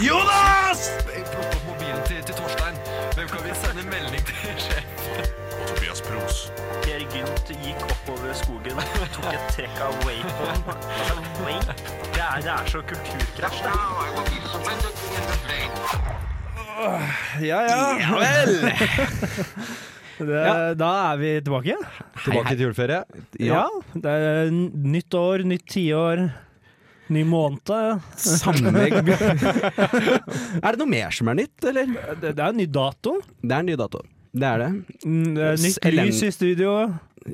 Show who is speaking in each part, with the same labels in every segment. Speaker 1: Jonas!
Speaker 2: Plukk opp mobilen til, til Torstein. Hvem kan vi sende melding til sjef?
Speaker 1: Tobias Pros.
Speaker 3: Eh,
Speaker 4: Per Gynt gikk oppover skogen, tok et trekk av Wacon. Altså, Wake? Det er, det er så kulturkrasj. Det er
Speaker 5: Ja, ja.
Speaker 1: Ja vel!
Speaker 5: Det, Da er vi tilbake.
Speaker 6: Tilbake til juleferie.
Speaker 5: Ja. Det er n- nytt år, nytt tiår, ny måned.
Speaker 6: Sammenlegg. er det noe mer som er nytt, eller?
Speaker 5: Det, det er en ny dato.
Speaker 6: Det er en ny dato. Det er det.
Speaker 5: Mm, det er Nytt
Speaker 6: Ellen-
Speaker 5: lys i studio.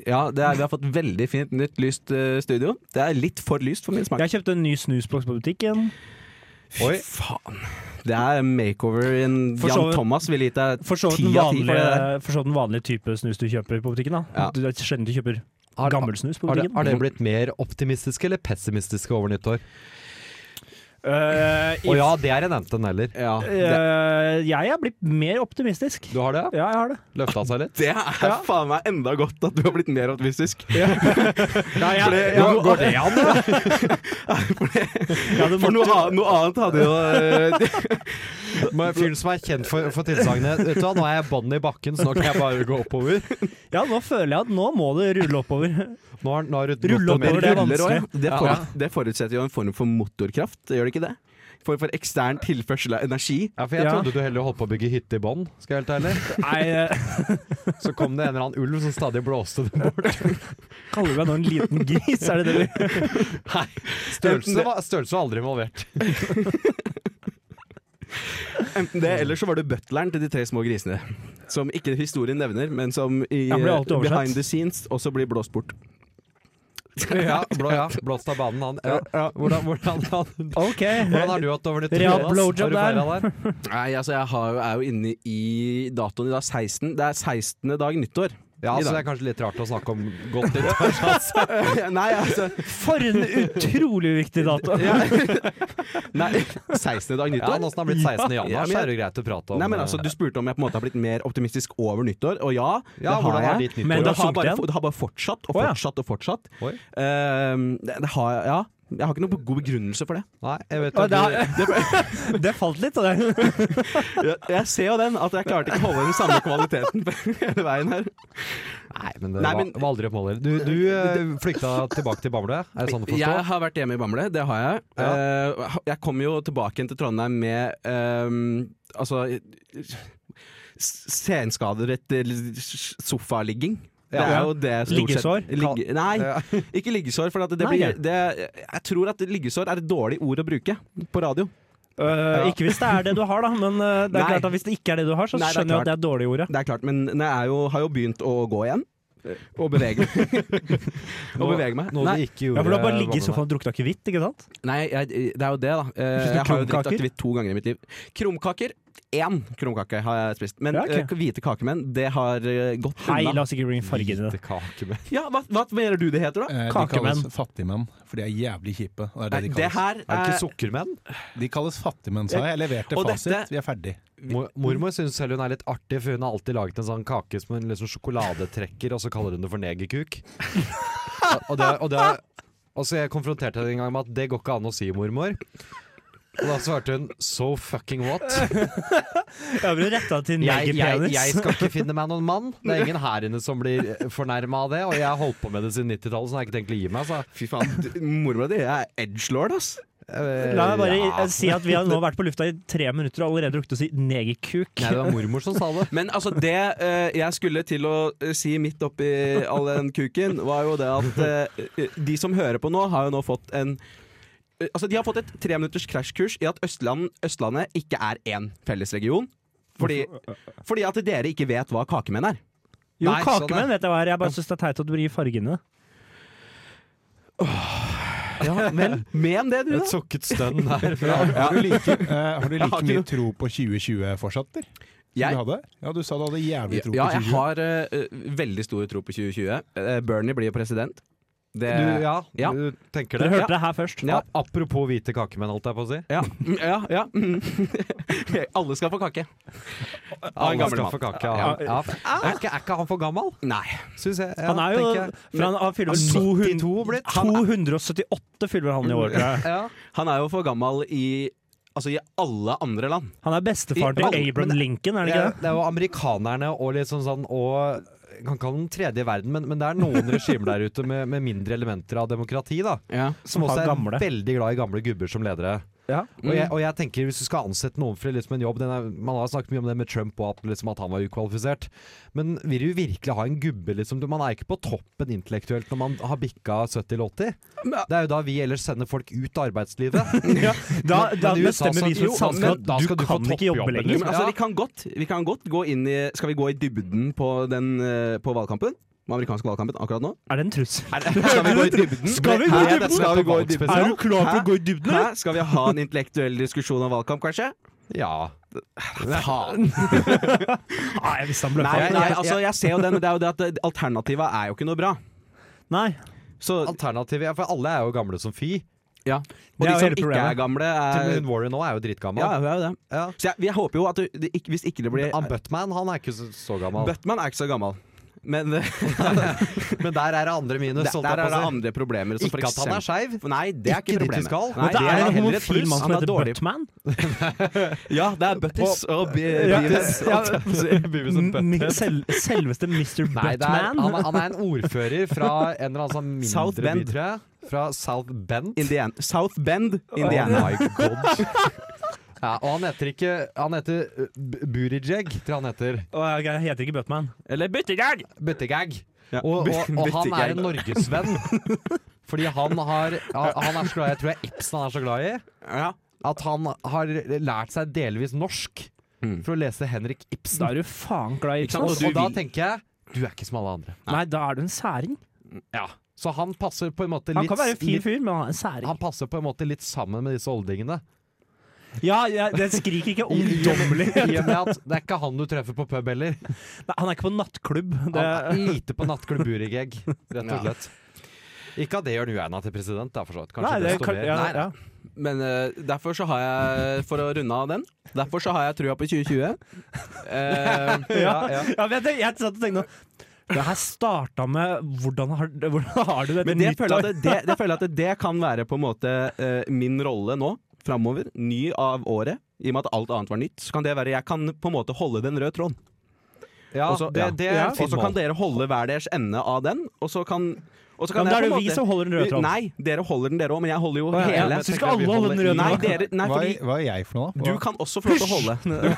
Speaker 6: Ja, det er, vi har fått veldig fint nytt lyst eh, studio. Det er litt for lyst for min smak.
Speaker 5: Jeg kjøpte en ny snusboks på butikken.
Speaker 6: Fy faen. Det er makeover in
Speaker 5: For så
Speaker 6: Jan
Speaker 5: vidt-
Speaker 6: Thomas ville gitt deg
Speaker 5: For så vidt
Speaker 6: ti
Speaker 5: den
Speaker 6: av ti for det der.
Speaker 5: vanlige, for så vidt den vanlige type snus du kjøper på butikken. da
Speaker 6: Ja.
Speaker 5: Du- Det er sjelden du kjøper
Speaker 7: Har-
Speaker 5: gammel snus på
Speaker 7: Har, det,
Speaker 5: butikken.
Speaker 7: har dere blitt mer optimistiske eller pessimistiske over nyttår?
Speaker 5: Eh, i-
Speaker 7: Å ja, det er en enten eller.
Speaker 6: Ja, det,
Speaker 5: eh, jeg er blitt mer optimistisk.
Speaker 7: Du har det? ja?
Speaker 5: Ja, jeg har det.
Speaker 7: Løfta seg litt?
Speaker 6: det er faen meg enda godt at du har blitt mer optimistisk.
Speaker 5: jeg,
Speaker 6: Går- går
Speaker 5: det an, ja, du
Speaker 6: For noe,
Speaker 5: måtte,
Speaker 6: an- noe annet hadde jo eh,
Speaker 7: Men Fyren som er kjent for, for tilsagnet. Vet du hva, nå er jeg bånn i bakken, så nå kan jeg bare gå oppover.
Speaker 5: ja, nå føler jeg at nå må det rulle oppover.
Speaker 7: Nå har, nå har du gått
Speaker 5: Rulle
Speaker 7: og
Speaker 5: oppover, det er
Speaker 7: meldt.
Speaker 6: ruller
Speaker 5: vanskelig.
Speaker 6: også, ja. Det, for, det forutsetter jo en form for motorkraft, gjør det ikke det? For, for ekstern tilførsel av energi.
Speaker 7: Ja, for jeg
Speaker 5: Ja.
Speaker 7: trodde du heller holdt på å bygge hytte i bånn, skal jeg være helt ærlig.
Speaker 5: Nei, eh,
Speaker 7: Så kom det en eller annen ulv som stadig blåste det bort.
Speaker 5: kaller du meg nå en liten gris? Er det det du
Speaker 7: Størrelse var, størrelse var aldri involvert.
Speaker 6: Enten det, eller så var det butleren til de tre små grisene. Som ikke historien nevner, men som i
Speaker 5: Han ble alltid
Speaker 6: eh,
Speaker 5: oversett.
Speaker 6: behind the scenes også blir blåst bort.
Speaker 7: Ja, blå, ja. Blåst av banen, han. Ja. Hvordan, hvordan, han
Speaker 5: OK.
Speaker 7: hvordan har du hatt over nyttår?
Speaker 5: Real
Speaker 7: Jonas?
Speaker 5: blowjob
Speaker 7: Har du
Speaker 5: der.
Speaker 7: feira der?
Speaker 6: Nei, altså jeg har, er jo inne i datoen i dag, 16. Det er 16. dag nyttår.
Speaker 7: Ja,
Speaker 6: I
Speaker 7: så
Speaker 6: dag.
Speaker 7: det er kanskje litt rart å snakke om godt nyttår. Altså.
Speaker 6: Nei, altså
Speaker 5: For en utrolig viktig dato!
Speaker 6: Nei, 16. dag
Speaker 7: Ja,
Speaker 6: nyttår?
Speaker 7: nå som det har blitt 16.
Speaker 6: Ja,
Speaker 7: januar,
Speaker 6: men
Speaker 7: så
Speaker 6: jeg-
Speaker 7: er det jo greit å prate om eh,
Speaker 6: Nei, men altså, Du spurte om jeg på en måte har blitt mer optimistisk over nyttår, og ja. det
Speaker 7: ja,
Speaker 6: har
Speaker 7: hvordan
Speaker 6: jeg.
Speaker 7: er ditt nyttår?
Speaker 5: Men det har
Speaker 6: det, har
Speaker 5: sunket
Speaker 6: bare,
Speaker 5: igjen?
Speaker 6: det har bare fortsatt og
Speaker 5: Å, ja.
Speaker 6: fortsatt og fortsatt.
Speaker 7: Oi.
Speaker 6: Ehm, det, det har, ja, jeg har ikke noen god begrunnelse for det.
Speaker 7: Nei, jeg vet
Speaker 5: Ja,
Speaker 7: jo
Speaker 5: det,
Speaker 7: at du-
Speaker 5: har, det falt litt, av det.
Speaker 6: Jeg, jeg ser jo den, at jeg klarte ikke å holde den samme kvaliteten hele veien her.
Speaker 7: Nei, men det
Speaker 6: Nei,
Speaker 7: var,
Speaker 6: men-
Speaker 7: var aldri oppholder. Du, du eh, flykta tilbake til Bamble, er det sånn å forstå?
Speaker 6: Jeg har vært hjemme i Bamble, det har jeg. Eh, jeg kom jo tilbake igjen til Trondheim med ehm, altså s- senskader etter s- sofaligging. Det
Speaker 5: Ja.
Speaker 6: er jo det stort
Speaker 5: Liggesår?
Speaker 6: sett Ligge,
Speaker 7: Ja.
Speaker 6: Nei, ikke liggesår. For at det
Speaker 5: Nei.
Speaker 6: blir, det, jeg tror at liggesår er et dårlig ord å bruke på radio.
Speaker 5: Eh, ikke hvis det er det du har, da. Men eh, det er
Speaker 6: Nei.
Speaker 5: klart at hvis det ikke er det du har, så
Speaker 6: Nei, det er
Speaker 5: skjønner jeg at det
Speaker 6: klart.
Speaker 5: er dårlig ordet.
Speaker 6: Det er klart, men men jeg er jo, har jo begynt å gå igjen. Og bevege meg. og bevege meg.
Speaker 7: Noe
Speaker 6: Nei,
Speaker 7: du ikke
Speaker 5: Ja,
Speaker 7: gjorde.
Speaker 5: for Du har bare ligget i
Speaker 7: Bamble.
Speaker 5: sofaen og drukta akevitt, ikke sant?
Speaker 6: nei jeg, det er jo det, da. Eh, Jeg har jo drukket
Speaker 5: Krumkaker?
Speaker 6: aktivitet to ganger i mitt liv. Krumkaker. Én krumkake har jeg spist. Men
Speaker 5: Ja, ok.
Speaker 6: eh, hvite kakemenn, det har eh, gått
Speaker 5: Nei, la
Speaker 6: unna.
Speaker 5: oss ikke bringe farge inn i det.
Speaker 7: Hvite kake med
Speaker 6: Ja, hva, hva mener du det heter, da?
Speaker 3: Eh, De
Speaker 5: Kakemenn.
Speaker 3: kalles fattigmenn, for de er jævlig kjipe. og Det er
Speaker 6: Nei,
Speaker 3: det de,
Speaker 6: det
Speaker 3: kalles.
Speaker 6: her
Speaker 7: Er det
Speaker 6: er
Speaker 7: ikke sukkermenn?
Speaker 3: de kalles fattigmenn, sa jeg. Jeg leverte
Speaker 6: Og
Speaker 3: fasit.
Speaker 6: dette-
Speaker 3: Vi er ferdig.
Speaker 7: Mor- Mormor syns selv hun er litt artig, for hun har alltid laget en sånn kake som en liksom sjokoladetrekker, og så kaller hun det for negerkuk. Og- Og, det, og, det, og så jeg konfronterte henne en gang med at det går ikke an å si, mormor. Og da svarte hun so fucking what?
Speaker 5: Øvrig retta til
Speaker 7: Jeg, jeg, jeg
Speaker 5: negerpenis.
Speaker 7: skal ikke finne meg noen mann. Det er ingen her inne som blir fornærma av det. Og jeg har holdt på med det siden 90-tallet, så jeg har ikke tenkt å gi meg. Så.
Speaker 6: Fy faen, du- mormora di er edgelord, ass.
Speaker 7: Eh,
Speaker 5: La meg bare
Speaker 7: ja.
Speaker 5: eh, si at vi har nå vært på lufta i tre minutter og allerede rukket å si negerkuk.
Speaker 7: Nei, det var mormor som sa det.
Speaker 6: Men altså, det eh, jeg skulle til å eh, si midt oppi all den kuken, var jo det at eh, de som hører på nå, har jo nå fått en eh, Altså, de har fått et treminutters krasjkurs i at Østland, Østlandet ikke er én fellesregion. Fordi, fordi at dere ikke vet hva kakemenn er.
Speaker 5: Jo,
Speaker 7: Nei, sånn
Speaker 5: kakemenn vet jeg hva er. Jeg bare syns det er teit at du bringer fargene.
Speaker 6: Ja, men men det, du,
Speaker 7: Et
Speaker 6: da.
Speaker 7: sukket stønn der.
Speaker 3: Har du like, eh, har du
Speaker 6: har
Speaker 3: like
Speaker 6: ikke noe-
Speaker 3: mye tro på 2020 fortsatt, eller? Som
Speaker 6: Jeg-
Speaker 3: du hadde? Ja, du sa du hadde jævlig tro
Speaker 6: Ja,
Speaker 3: på
Speaker 6: jeg
Speaker 3: 2020.
Speaker 6: har eh, veldig stor tro på 2020. Eh, Bernie blir jo president. Det
Speaker 7: Du, ja,
Speaker 6: Ja.
Speaker 7: du tenker
Speaker 5: Dere
Speaker 7: det.
Speaker 5: hørte det her først.
Speaker 6: Ja.
Speaker 7: A- Apropos hvite kakemenn, holdt jeg på å si.
Speaker 6: Ja, mm, ja, ja. Alle skal få kake. Av en
Speaker 7: Alle
Speaker 6: gammel
Speaker 7: skal
Speaker 6: mann.
Speaker 7: få kake av han. Ja. Er, ikke, er ikke han for gammel?
Speaker 6: Nei.
Speaker 7: Syns jeg. Ja,
Speaker 5: Ah. Han er jo
Speaker 7: tenker jeg.
Speaker 5: for han, han fyller
Speaker 7: Han er
Speaker 5: 200,
Speaker 7: 92 blitt.
Speaker 5: 278 fyller han i år, tror jeg.
Speaker 7: Ja.
Speaker 6: Han er jo for gammel i altså, i alle andre land.
Speaker 5: Han er bestefaren til
Speaker 6: I-
Speaker 5: Abraham Lincoln, er det ikke
Speaker 7: det? er jo amerikanerne og liksom sånn og jeg kan kalle den tredje verden, men, men det er noen regimer der ute med, med mindre elementer av demokrati, da. Som
Speaker 5: Som
Speaker 7: også
Speaker 5: har
Speaker 7: er
Speaker 5: gamle.
Speaker 7: veldig glad i gamle gubber som ledere.
Speaker 5: det? Ja.
Speaker 7: Og
Speaker 6: Mm.
Speaker 7: jeg, og jeg tenker Hvis du skal ansette noen for liksom en jobb den er, Man har snakket mye om det med Trump og at, liksom, at han var ukvalifisert. Men vil du virkelig ha en gubbe? Liksom? Du- Man er ikke på toppen intellektuelt når man har bikka 70 eller 80.
Speaker 6: Men-
Speaker 7: Det er jo da vi ellers sender folk ut av arbeidslivet.
Speaker 5: Da,
Speaker 7: Men-
Speaker 5: da
Speaker 7: men i USA
Speaker 5: bestemmer vi
Speaker 7: så-
Speaker 5: som
Speaker 7: jo,
Speaker 5: samfunn
Speaker 7: men
Speaker 5: at
Speaker 7: da
Speaker 5: du
Speaker 7: skal du få
Speaker 5: kan ikke jobbe
Speaker 7: toppjobben,
Speaker 5: lenger.
Speaker 6: Jo, men,
Speaker 7: Ja.
Speaker 6: altså, vi, kan godt, vi kan godt gå inn i Skal vi gå i dybden på den eh, på valgkampen? Den amerikanske valgkampen akkurat nå?
Speaker 5: Er det en trussel?
Speaker 6: Skal vi gå i dybden?
Speaker 5: Skal vi gå i
Speaker 6: Hæ?
Speaker 5: dybden?
Speaker 6: Skal vi gå i dybden?
Speaker 5: Er du klar for
Speaker 6: Hæ?
Speaker 5: å gå i dybden?
Speaker 6: Hæ? Skal vi ha en intellektuell diskusjon om valgkamp, kanskje?
Speaker 7: Ja.
Speaker 5: Nei, jeg visste han
Speaker 6: Nei,
Speaker 5: bløffa.
Speaker 6: nei, altså jeg ser jo den, men det er jo det at alternativet er jo ikke noe bra.
Speaker 5: Nei.
Speaker 6: Så
Speaker 7: Alternativet ja, For alle er jo gamle som fy.
Speaker 6: ja.
Speaker 5: Det
Speaker 6: Og
Speaker 5: er
Speaker 6: de
Speaker 5: jo
Speaker 6: som
Speaker 5: hele
Speaker 6: ikke
Speaker 5: problemet.
Speaker 6: er gamle,
Speaker 7: Til og med
Speaker 6: er
Speaker 7: hun Warren nå er jo dritgammel.
Speaker 6: Ja, det er jo det.
Speaker 7: Ja.
Speaker 6: Så jeg, jeg håper jo at du, det, ikke, hvis ikke det blir
Speaker 7: Han Buttman han er ikke så, så gammel.
Speaker 6: Buttman er ikke så gammel. Men det,
Speaker 7: Men der er det andre minus.
Speaker 6: der,
Speaker 7: holdt jeg på å
Speaker 6: der er det
Speaker 7: si.
Speaker 6: andre problemer. som for
Speaker 7: Ikke at han er skeiv.
Speaker 6: eksempel- Nei, det er ikke,
Speaker 7: Ikke dit vi
Speaker 6: problemet.
Speaker 7: skal.
Speaker 6: Nei,
Speaker 5: Det er en
Speaker 6: heller et
Speaker 5: homofil
Speaker 6: pluss.
Speaker 5: mann som
Speaker 6: Han er
Speaker 5: heter
Speaker 6: dårlig.
Speaker 5: Buttman.
Speaker 6: Ja, det er Buttis og Be- Beavis.
Speaker 7: Beavis and
Speaker 5: M- sel- Selveste Mr.
Speaker 7: Nei, det er, han,
Speaker 5: Buttman.
Speaker 7: er- han er en ordfører fra en eller annen sånn
Speaker 6: South
Speaker 7: mindre by,
Speaker 6: Bend.
Speaker 7: tror jeg. Fra South Bend.
Speaker 6: Indian. South Bend,
Speaker 7: Oh
Speaker 6: Indiana.
Speaker 7: my god. Ja, og han heter ikke Han heter uh, B- Buttigieg, tror jeg han heter.
Speaker 5: Å, jeg heter ikke Buttman.
Speaker 6: Eller Buttigieg!
Speaker 7: Buttegag.
Speaker 6: Ja.
Speaker 7: Og, og, og han
Speaker 6: Buttigieg.
Speaker 7: er en norgesvenn. Fordi han har han- Han er så glad i Jeg tror det er Ibsen han er så glad i.
Speaker 6: Ja.
Speaker 7: At han har lært seg delvis norsk
Speaker 6: Mm.
Speaker 7: for å lese Henrik Ibsen.
Speaker 5: Da er du faen glad i
Speaker 6: Ikke sant?
Speaker 7: Og,
Speaker 6: Og du
Speaker 7: og da
Speaker 6: vil-
Speaker 7: tenker jeg du er ikke som alle andre.
Speaker 5: Nei, da er du en særing.
Speaker 7: Så han passer på en måte
Speaker 5: Han
Speaker 7: litt,
Speaker 5: kan være en fin
Speaker 7: litt,
Speaker 5: fyr, men han er en særing.
Speaker 7: han passer på en måte litt sammen med disse oldingene.
Speaker 5: Ja, ja, det skriker ikke
Speaker 7: I- i-
Speaker 5: ungdommelig.
Speaker 7: I og med at det er ikke han du treffer på pub heller.
Speaker 5: Nei, Han er ikke på nattklubb.
Speaker 7: Han
Speaker 5: Det,
Speaker 7: er lite på nattklubb Burigegg, rett
Speaker 6: Ja.
Speaker 7: og slett. Ikke at det gjør Nueina til president, da, for så vidt. Kanskje
Speaker 5: nei, det
Speaker 7: desto
Speaker 5: kan,
Speaker 7: mer.
Speaker 5: ja,
Speaker 7: Nei,
Speaker 5: ja.
Speaker 6: Men eh, derfor så har jeg For å runde av den. Derfor så har jeg trua på 2020. Eh,
Speaker 5: Ja,
Speaker 7: ja, ja.
Speaker 5: ja, men jeg, tenk- jeg satt og tenkte nå Det her starta med Hvordan har, hvordan har du det
Speaker 6: men
Speaker 5: etter
Speaker 6: det føler,
Speaker 5: nyttår?
Speaker 6: jeg at det, det føler jeg at det kan være på en måte eh, min rolle nå framover. Ny av året. I og med at alt annet var nytt, så kan det være jeg kan på en måte holde den røde tråden.
Speaker 7: ja,
Speaker 6: Og så
Speaker 7: det, det er
Speaker 6: ja.
Speaker 7: en fin
Speaker 6: Og så kan
Speaker 7: mål.
Speaker 6: dere holde hver deres ende av den, og så kan, og så
Speaker 5: Ja,
Speaker 6: kan
Speaker 5: men da er
Speaker 6: jeg
Speaker 5: det
Speaker 6: på
Speaker 5: jo
Speaker 6: en
Speaker 5: vi
Speaker 6: måte-
Speaker 5: som holder den røde tråden.
Speaker 6: Nei, dere holder den dere òg, men jeg holder jo
Speaker 5: ja,
Speaker 6: hele.
Speaker 5: Så skal alle holde den røde
Speaker 6: Nei,
Speaker 5: tråden?
Speaker 6: dere, nei
Speaker 3: Hva
Speaker 6: fordi
Speaker 3: er, hva er jeg for noe, da?
Speaker 6: Du kan også få lov til å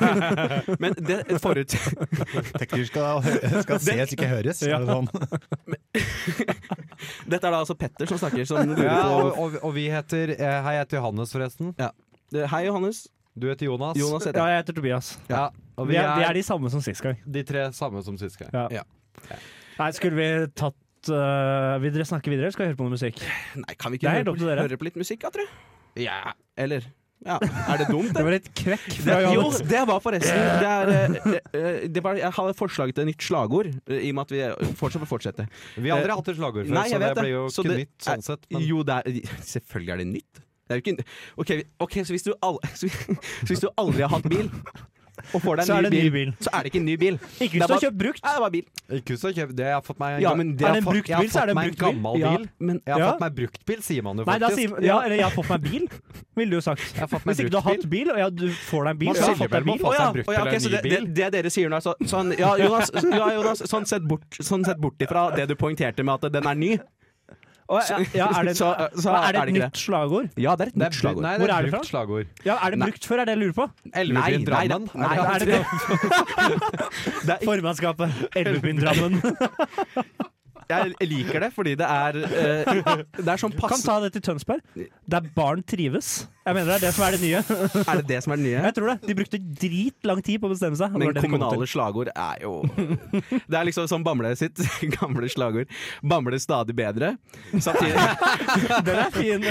Speaker 6: holde. Men det forut...
Speaker 3: Teknisk skal, skal ses, ikke høres.
Speaker 5: Ja.
Speaker 3: Er det sånn?
Speaker 6: Dette er da altså Petter som snakker, som
Speaker 7: ja, og,
Speaker 6: lurer på
Speaker 7: og, og vi heter eh, Hei, jeg heter Johannes, forresten.
Speaker 6: Hei, Johannes.
Speaker 7: Du heter Jonas.
Speaker 6: Jonas
Speaker 5: Altså, Ja,
Speaker 6: heter jeg.
Speaker 5: jeg heter Tobias.
Speaker 7: Ja. Og
Speaker 5: Vi er, vi er de samme som sist gang.
Speaker 7: de tre samme som sist gang.
Speaker 5: Ja.
Speaker 6: Ja.
Speaker 5: Nei, skulle vi tatt uh, Vil dere snakke videre, eller skal vi høre på noe musikk?
Speaker 6: Nei, kan vi
Speaker 5: Det
Speaker 6: ikke
Speaker 5: er helt
Speaker 6: høre
Speaker 5: opp
Speaker 6: på,
Speaker 5: til dere.
Speaker 6: høre på litt musikk, da, tror jeg? Ja. Eller Ja. Er det dumt,
Speaker 5: Det
Speaker 6: det?
Speaker 5: var litt kvekk
Speaker 6: Det,
Speaker 5: fra
Speaker 6: jo,
Speaker 5: Johannes.
Speaker 6: det var forresten det er, eh, eh, det var, Jeg hadde et forslag til et nytt slagord, eh, i og med at vi fortsatt får fortsette.
Speaker 7: Vi har aldri hatt et slagord før,
Speaker 6: Nei, jeg
Speaker 7: så det
Speaker 6: vet det.
Speaker 7: blir jo
Speaker 6: Så
Speaker 7: ikke
Speaker 6: det
Speaker 7: nytt sånn sett. Men
Speaker 6: Jo, det er, selvfølgelig er det nytt. Det er jo ikke, ok, vi- ok, så hvis, du al- så, så hvis du aldri har hatt bil, og får deg
Speaker 5: Så er
Speaker 6: en
Speaker 5: det
Speaker 6: ny bil,
Speaker 5: bil.
Speaker 6: så er det ikke en ny bil.
Speaker 5: Ikke
Speaker 6: Det
Speaker 5: hvis du
Speaker 6: var-
Speaker 5: har kjøpt brukt.
Speaker 6: Nei, det var bil.
Speaker 7: Ikke så kjøp, det jeg har fått meg
Speaker 6: Ja, men
Speaker 7: jeg
Speaker 5: er
Speaker 6: det
Speaker 7: har
Speaker 5: det en
Speaker 7: fått-
Speaker 5: brukt
Speaker 7: jeg har
Speaker 5: bil, så er det en
Speaker 7: fått
Speaker 5: brukt
Speaker 7: meg en
Speaker 5: bil.
Speaker 7: gammel
Speaker 6: Ja,
Speaker 7: bil.
Speaker 6: men
Speaker 7: Jeg har
Speaker 5: Ja.
Speaker 7: fått meg brukt bil, sier man jo
Speaker 5: Nei, da
Speaker 7: faktisk.
Speaker 5: sier, ja, eller jeg har fått meg bil, ville du jo sagt.
Speaker 7: har fått meg
Speaker 5: Hvis ikke du har hatt
Speaker 7: bruktbil.
Speaker 5: bil, og ja, du får deg en bil,
Speaker 7: Man
Speaker 5: så har du
Speaker 7: skiller
Speaker 5: fått deg
Speaker 7: vel
Speaker 5: en
Speaker 7: på
Speaker 5: bil.
Speaker 6: Å ja,
Speaker 7: en brukt
Speaker 6: å ja, ok,
Speaker 7: eller en
Speaker 6: så
Speaker 7: ny
Speaker 6: det, det, det dere sier nå, er så, sånn Ja, Jonas, ja, Jonas sånn, sett bort, sånn sett bort ifra det du poengterte med at den er ny.
Speaker 5: Å, ja, ja, er, det,
Speaker 6: Så- så
Speaker 5: hva, er det
Speaker 6: er det
Speaker 5: et
Speaker 6: ikke
Speaker 5: nytt slagord?
Speaker 6: Ja, det er et
Speaker 7: Det
Speaker 6: nytt
Speaker 7: er,
Speaker 6: slagord.
Speaker 7: Nei,
Speaker 5: Hvor
Speaker 7: det
Speaker 5: er
Speaker 7: er
Speaker 5: det
Speaker 7: et brukt slagord.
Speaker 5: Ja, Er det
Speaker 6: Nei.
Speaker 5: brukt før, er det jeg lurer på?
Speaker 6: Nei,
Speaker 7: Elvebyen
Speaker 6: nei,
Speaker 7: Drammen.
Speaker 6: nei,
Speaker 7: Er det-
Speaker 5: Er det
Speaker 6: Det er, ikke-
Speaker 5: Formannskapet. Elvebyen Drammen.
Speaker 6: jeg liker det fordi det er eh, Det er sånn
Speaker 5: Kan
Speaker 6: passe
Speaker 5: ta det til Tønsberg. Der barn trives. Jeg mener det er det som er det nye.
Speaker 6: Er det det som er det nye?
Speaker 5: Jeg tror det. De brukte dritlang tid på å bestemme seg. Det var
Speaker 6: Men
Speaker 5: det de kom
Speaker 6: kommunale
Speaker 5: til.
Speaker 6: slagord er jo Det er liksom som Bamble sitt gamle slagord. Bamble stadig bedre. Samtidig,
Speaker 5: Den er fin.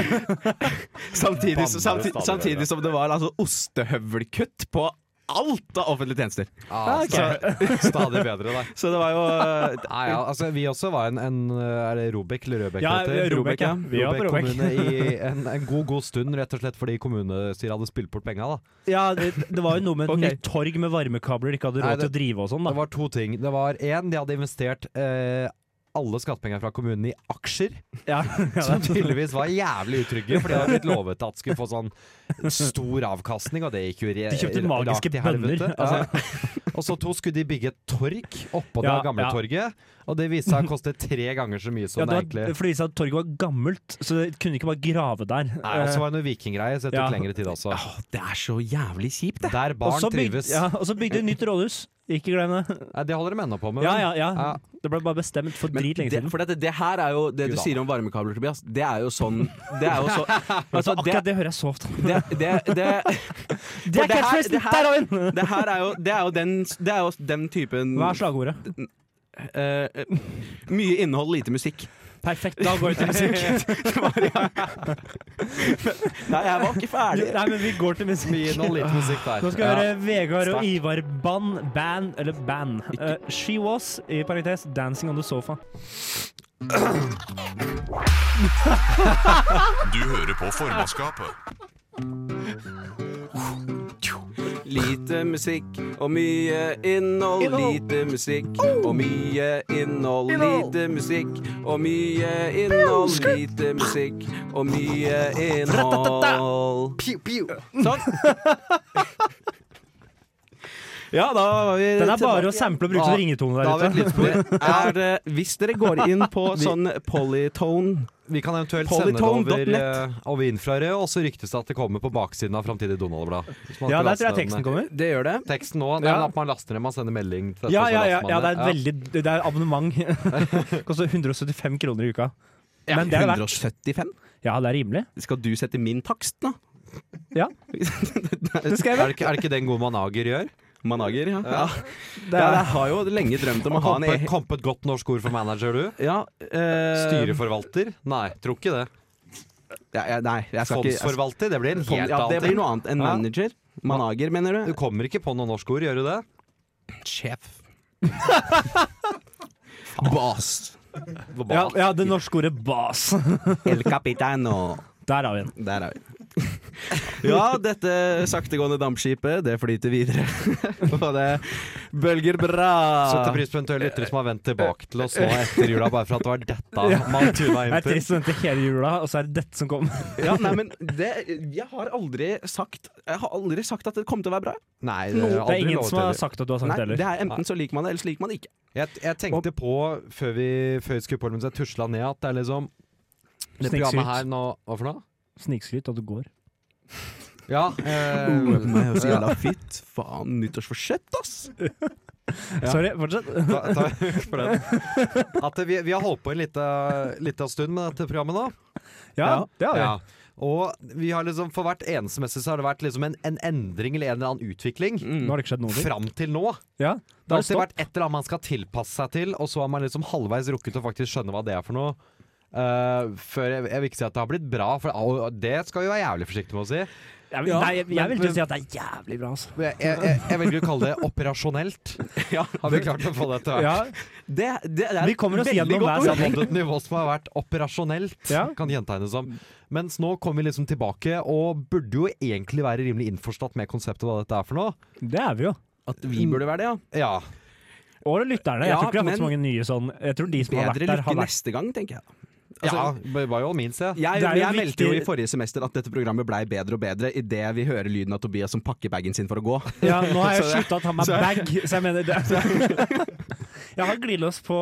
Speaker 6: samtidig,
Speaker 7: Bamble stadig
Speaker 6: samtidig,
Speaker 7: bedre.
Speaker 6: samtidig som det var altså, ostehøvelkutt på alt av offentlige tjenester.
Speaker 7: Ah, sta- Stadig bedre, da.
Speaker 6: Så det var jo eh,
Speaker 7: Nei, ja, altså, vi også var en, en eh, Er det Robek eller Røbek?
Speaker 5: Ja,
Speaker 7: det heter?
Speaker 5: Robek, ja. Vi var på Robek.
Speaker 7: kommune i en, en god, god stund, rett og slett fordi kommunestyret hadde spilt bort penga. da.
Speaker 5: Ja, det, det var jo noe med et
Speaker 6: Ok.
Speaker 5: nytt torg med varmekabler de ikke hadde
Speaker 7: Nei,
Speaker 5: råd
Speaker 7: det-
Speaker 5: til å drive og sånn,
Speaker 7: Det
Speaker 5: da.
Speaker 7: var to ting. Det var én, de hadde investert eh, alle skattepengene fra kommunen i aksjer.
Speaker 5: Ja, ja,
Speaker 7: Som tydeligvis var jævlig utrygge, for de hadde blitt lovet at skulle få sånn stor avkastning, og det gikk jo re-
Speaker 5: De kjøpte
Speaker 7: ra-
Speaker 5: magiske
Speaker 7: rakt i helvete.
Speaker 5: bønner, altså.
Speaker 7: Ja. Og så to skulle de bygge et torg oppå
Speaker 5: Ja,
Speaker 7: det gamle
Speaker 5: ja.
Speaker 7: torget, og det viste seg å koste tre ganger så mye som det
Speaker 5: ja, eh, det
Speaker 7: egentlig
Speaker 5: var, for de sa at torget var gammelt, så de kunne ikke bare grave der.
Speaker 7: Nei, Og så var det noe vikinggreie, så det tok
Speaker 5: Ja.
Speaker 7: lengre tid også.
Speaker 6: Det er så jævlig kjipt, det.
Speaker 7: Der
Speaker 5: Eh, Og
Speaker 7: barn
Speaker 5: så byg-
Speaker 7: trives.
Speaker 5: Ja, og så bygde de nytt rådhus. Ikke glem det.
Speaker 7: Nei, det holder de ennå på med.
Speaker 5: Ja,
Speaker 7: vel?
Speaker 5: ja, ja.
Speaker 7: Ja.
Speaker 5: Det ble bare bestemt for
Speaker 6: Men
Speaker 5: drit lenge
Speaker 6: det,
Speaker 5: siden.
Speaker 6: for dette, det her er jo det du
Speaker 7: Gud, da.
Speaker 6: sier om varmekabler, Tobias. Det er jo sånn Det er jo så
Speaker 5: Altså,
Speaker 6: altså, det,
Speaker 5: akkurat det hører jeg så ofte.
Speaker 6: det, det, det,
Speaker 5: Det er
Speaker 6: det her-
Speaker 5: catchphrasen!
Speaker 6: det her-
Speaker 5: Der har vi den!
Speaker 6: Mm. det her er jo, det er jo, den, det er jo den typen
Speaker 5: Hva er slagordet?
Speaker 6: eh, eh, Mye innhold, lite musikk.
Speaker 5: Perfekt, da går vi til musikk.
Speaker 6: Nei, jeg var ikke ferdig.
Speaker 5: Nei, men vi går til
Speaker 7: Mye
Speaker 5: musikk.
Speaker 7: innhold, lite musikk der.
Speaker 5: Nå skal vi
Speaker 7: Ja.
Speaker 5: høre Vegard og
Speaker 7: Sterkt.
Speaker 5: Ivar Ban, Ban, eller Ban. Eh, she was, i parentes, dancing on the sofa.
Speaker 1: Du hører på formannskapet.
Speaker 6: Lite musikk og mye innhold. Lite musikk og mye innhold. Lite musikk og mye innhold. Lite musikk og mye innhold. Sånn. Ja, da var vi
Speaker 5: Den er bare
Speaker 6: tilbake.
Speaker 5: å sample og bruke som ringetone
Speaker 7: Da har vi
Speaker 5: der
Speaker 7: et
Speaker 5: ute.
Speaker 7: lydspor.
Speaker 6: er det, Hvis dere går inn på sånn polytone
Speaker 7: Vi kan eventuelt
Speaker 6: Polytone
Speaker 7: sende det
Speaker 6: dot
Speaker 7: over, eh, over infrarød, og så ryktes det at det kommer på baksiden av framtidig Donald-blad. Hvis man
Speaker 5: Ja,
Speaker 7: skal
Speaker 5: der tror
Speaker 7: laste
Speaker 5: jeg
Speaker 7: den, eh,
Speaker 5: teksten kommer.
Speaker 6: Det gjør det.
Speaker 7: Teksten nå, det
Speaker 5: Ja.
Speaker 7: er at man laster ned, man sender melding til dette,
Speaker 5: Ja,
Speaker 7: og så
Speaker 5: ja, ja,
Speaker 7: laster man
Speaker 5: ja, det er
Speaker 7: ned.
Speaker 5: et veldig Det er abonnement. Koster 175 kroner i uka. Men det er det verdt.
Speaker 6: 175?
Speaker 5: Ja, det er rimelig.
Speaker 6: Skal du sette min takst, da?
Speaker 5: Ja. Det skal jeg
Speaker 7: Er det, ikke, er det ikke den gode manager gjør?
Speaker 6: Manager, ja. ja.
Speaker 5: Det
Speaker 6: Ja,
Speaker 5: er,
Speaker 6: jeg har jo lenge drømt om å ha en e-
Speaker 7: Kompet, kompet godt norsk ord for manager, du?
Speaker 6: Ja, eh,
Speaker 7: Styreforvalter? Nei, tror ikke det.
Speaker 6: ja, ja, Nei, jeg skal ikke jeg
Speaker 7: Fondsforvalter? Det blir en
Speaker 6: skal,
Speaker 7: helt
Speaker 6: ja, Det
Speaker 7: annen
Speaker 6: blir
Speaker 7: ting.
Speaker 6: noe annet enn
Speaker 7: Ja.
Speaker 6: manager. Manager, mener
Speaker 7: Du
Speaker 6: du?
Speaker 7: kommer ikke på noe norsk ord, gjør du det?
Speaker 6: Sjef. Boss.
Speaker 5: ja, ja, det norske ordet bas.
Speaker 6: El capitano.
Speaker 5: Der har vi den.
Speaker 6: Der er vi. Ja, dette saktegående dampskipet, det flyter videre. Og det bølger
Speaker 5: Ah.
Speaker 7: Setter
Speaker 6: bra.
Speaker 7: pris på eventuelle lyttere som har vendt tilbake til oss nå etter jula, bare for at det var dette man tuna
Speaker 5: Det
Speaker 7: inn
Speaker 5: er
Speaker 7: til.
Speaker 5: trist å vente hele jula, og så er det dette som kommer.
Speaker 6: Ja, nei, men det, jeg har aldri sagt Jeg har aldri sagt at det kommer til å være bra.
Speaker 7: Nei,
Speaker 5: Det
Speaker 7: aldri
Speaker 5: er ingen
Speaker 7: lov
Speaker 5: som
Speaker 7: til
Speaker 5: har
Speaker 7: det.
Speaker 5: sagt at du har sagt
Speaker 6: Nei,
Speaker 5: det heller.
Speaker 6: det er Enten så liker man det, eller så liker man det ikke.
Speaker 7: Jeg, jeg tenkte på, før vi, før vi skulle på, mens jeg tusla ned, at det er liksom Det
Speaker 5: Snikskryt.
Speaker 7: programmet her nå Hva for noe?
Speaker 5: Snikskryt at du går.
Speaker 7: Ja. Eh,
Speaker 6: Så jævla fitt. Faen, nyttårsforsett, ass!
Speaker 7: Ja.
Speaker 5: Sorry, fortsett.
Speaker 7: ta, ta høyt for den. At vi, vi har holdt på en liten liten stund med dette programmet nå.
Speaker 5: Ja, det har vi.
Speaker 7: Ja. Og vi har liksom, for hvert eneste messe så har det vært liksom en, en endring eller en eller annen utvikling.
Speaker 6: Mm.
Speaker 5: Nå har det ikke skjedd noe.
Speaker 7: Fram til nå.
Speaker 5: Ja,
Speaker 7: Det har
Speaker 5: da
Speaker 7: alltid
Speaker 5: stopp.
Speaker 7: vært et eller annet man skal tilpasse seg til, og så har man liksom halvveis rukket å faktisk skjønne hva det er for noe. Eh, før jeg, jeg vil ikke si at det har blitt bra, for au, det skal vi være jævlig forsiktige med å si.
Speaker 5: Jeg, vil- nei, jeg, jeg vil ikke si at det er jævlig bra, altså.
Speaker 7: Men Jeg, jeg, jeg velger å kalle det operasjonelt. Har vi klart å få det til?
Speaker 5: Ja,
Speaker 6: Det, det, det er
Speaker 5: vi kommer oss
Speaker 6: veldig
Speaker 5: gjennom
Speaker 6: godt
Speaker 5: hver
Speaker 6: ord.
Speaker 7: Det har nådd et nivå som har vært operasjonelt,
Speaker 5: Ja.
Speaker 7: kan gjentegnes som. Mens nå kommer vi liksom tilbake, og burde jo egentlig være rimelig innforstått med konseptet hva dette er for noe.
Speaker 5: Det er vi jo.
Speaker 6: At vi burde være det, ja.
Speaker 7: Ja,
Speaker 5: Og lytterne. Jeg
Speaker 6: Ja,
Speaker 5: tror ikke vi har fått så
Speaker 6: men-
Speaker 5: mange nye sånn Jeg tror de som har vært
Speaker 6: Bedre
Speaker 5: der, har
Speaker 6: lykke
Speaker 5: vært
Speaker 6: neste gang, tenker jeg.
Speaker 7: ja
Speaker 6: Altså,
Speaker 7: by by all means, ja.
Speaker 6: Jeg,
Speaker 5: Det er jo
Speaker 6: jeg meldte jo
Speaker 5: viktig-
Speaker 6: i forrige semester at dette programmet blei bedre og bedre idet vi hører lyden av Tobias som pakker bagen sin for å gå.
Speaker 5: Ja, nå har jeg
Speaker 6: Så det-
Speaker 5: slutta å ta meg
Speaker 6: så-
Speaker 5: bag, så jeg mener det. Jeg har glidelås på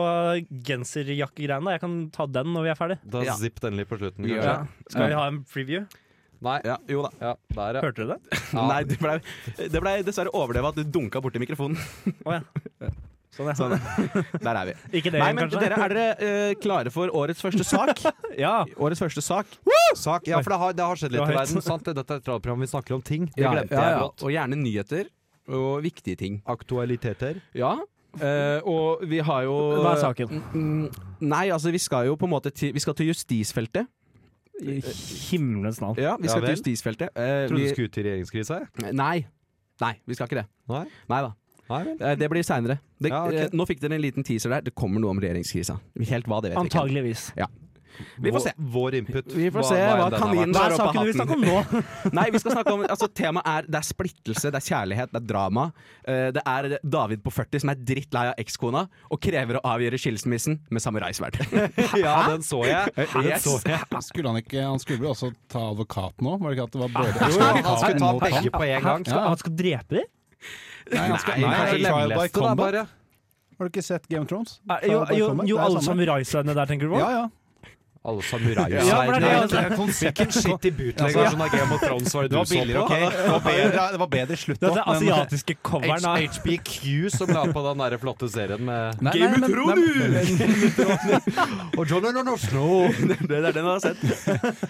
Speaker 5: genserjakkegreiene. Jeg kan ta den når vi er ferdig.
Speaker 7: Da
Speaker 6: Ja.
Speaker 7: zipp den litt på slutten,
Speaker 6: Vi gjør
Speaker 7: kanskje.
Speaker 6: det.
Speaker 5: Ja. Skal vi ha en preview?
Speaker 7: Nei.
Speaker 6: Ja, jo da.
Speaker 7: Ja, der, ja.
Speaker 5: Hørte dere det?
Speaker 7: ja.
Speaker 6: Nei, det blei det ble dessverre overleva at du dunka borti mikrofonen.
Speaker 5: Å ja. Sånn, ja.
Speaker 6: Sånn. Der er vi.
Speaker 5: Ikke det,
Speaker 6: Nei, men
Speaker 5: kanskje?
Speaker 6: dere, er dere eh, klare for årets første sak?
Speaker 5: Ja.
Speaker 6: Årets første sak.
Speaker 7: Sak. ja, for det har, det har skjedd litt
Speaker 5: Det
Speaker 7: i
Speaker 5: var helt-
Speaker 7: verden. sant? Dette er et radioprogram vi snakker om ting. Det
Speaker 6: Ja,
Speaker 7: glemte
Speaker 6: ja,
Speaker 7: jeg
Speaker 6: ja.
Speaker 7: brått.
Speaker 6: Og gjerne nyheter. Og viktige ting.
Speaker 7: Aktualiteter.
Speaker 6: Ja. eh, og vi har jo
Speaker 5: Hva er saken?
Speaker 6: Mm, Nei, altså vi skal jo på en måte til, vi skal til justisfeltet.
Speaker 5: I himmelens navn.
Speaker 6: Ja, vi
Speaker 7: Ja
Speaker 6: skal til
Speaker 7: vel.
Speaker 6: justisfeltet. Eh,
Speaker 7: Trodde
Speaker 6: vi,
Speaker 7: du skulle ut i regjeringskrise?
Speaker 6: nei. Nei, vi skal ikke det.
Speaker 7: Nei?
Speaker 6: Nei da.
Speaker 7: Nei vel.
Speaker 6: Eh, Det eh, blir seinere.
Speaker 7: Ja, ok.
Speaker 6: Nå fikk dere en liten teaser der. Det kommer noe om regjeringskrisa. Helt hva, det vet vi ikke.
Speaker 5: Antageligvis.
Speaker 6: Vi får se.
Speaker 7: Vår, vår input.
Speaker 6: Vi får se hva
Speaker 7: enn den har
Speaker 6: kaninen
Speaker 7: vært.
Speaker 5: Hva
Speaker 6: Bare
Speaker 5: er
Speaker 6: opp av
Speaker 5: saken vi
Speaker 6: hatten.
Speaker 5: snakker om nå?
Speaker 6: Nei, vi skal snakke om altså, Temaet er det er splittelse, det er kjærlighet, det er drama. Eh, det er David på 40 som er drittlei av ekskona og krever å avgjøre skilsmissen med samuraisverd.
Speaker 7: Ja, den så jeg. Den
Speaker 6: Yes.
Speaker 7: så jeg.
Speaker 8: Skulle han ikke Han skulle vel også ta advokat nå? Var det ikke at det var både
Speaker 7: Jo, han
Speaker 8: advokaten
Speaker 7: skulle ta
Speaker 8: og
Speaker 7: begge på en gang.
Speaker 8: Ja.
Speaker 5: Han skal drepe dem?
Speaker 8: Nei, han skal,
Speaker 7: Nei,
Speaker 8: nei,
Speaker 7: kanskje
Speaker 8: trial by
Speaker 7: lemleste da,
Speaker 8: combat.
Speaker 7: bare.
Speaker 8: Har du ikke sett Game of Thrones?
Speaker 5: Er- Ah, Jo,
Speaker 8: Trial by
Speaker 5: jo,
Speaker 8: combat,
Speaker 5: jo
Speaker 8: det er
Speaker 5: alle
Speaker 8: samme.
Speaker 5: samuraisverdene der, tenker du på?
Speaker 8: Ja, ja.
Speaker 7: Alle
Speaker 5: Ja, for det er
Speaker 7: samuraisverdene.
Speaker 5: det, altså.
Speaker 7: Hvilken skittig
Speaker 9: sånn
Speaker 7: bootleggersjon av Game of Thrones var sånn- Altså, det du så på?
Speaker 3: Det var bedre, det var bedre slutt
Speaker 5: Det er
Speaker 3: da,
Speaker 5: den
Speaker 3: men-
Speaker 5: asiatiske coveren av
Speaker 7: H- HBQ som la på den der flotte serien med
Speaker 8: Nei, nei, men- nei,
Speaker 7: Og John Lennon
Speaker 6: det, det er den jeg har sett.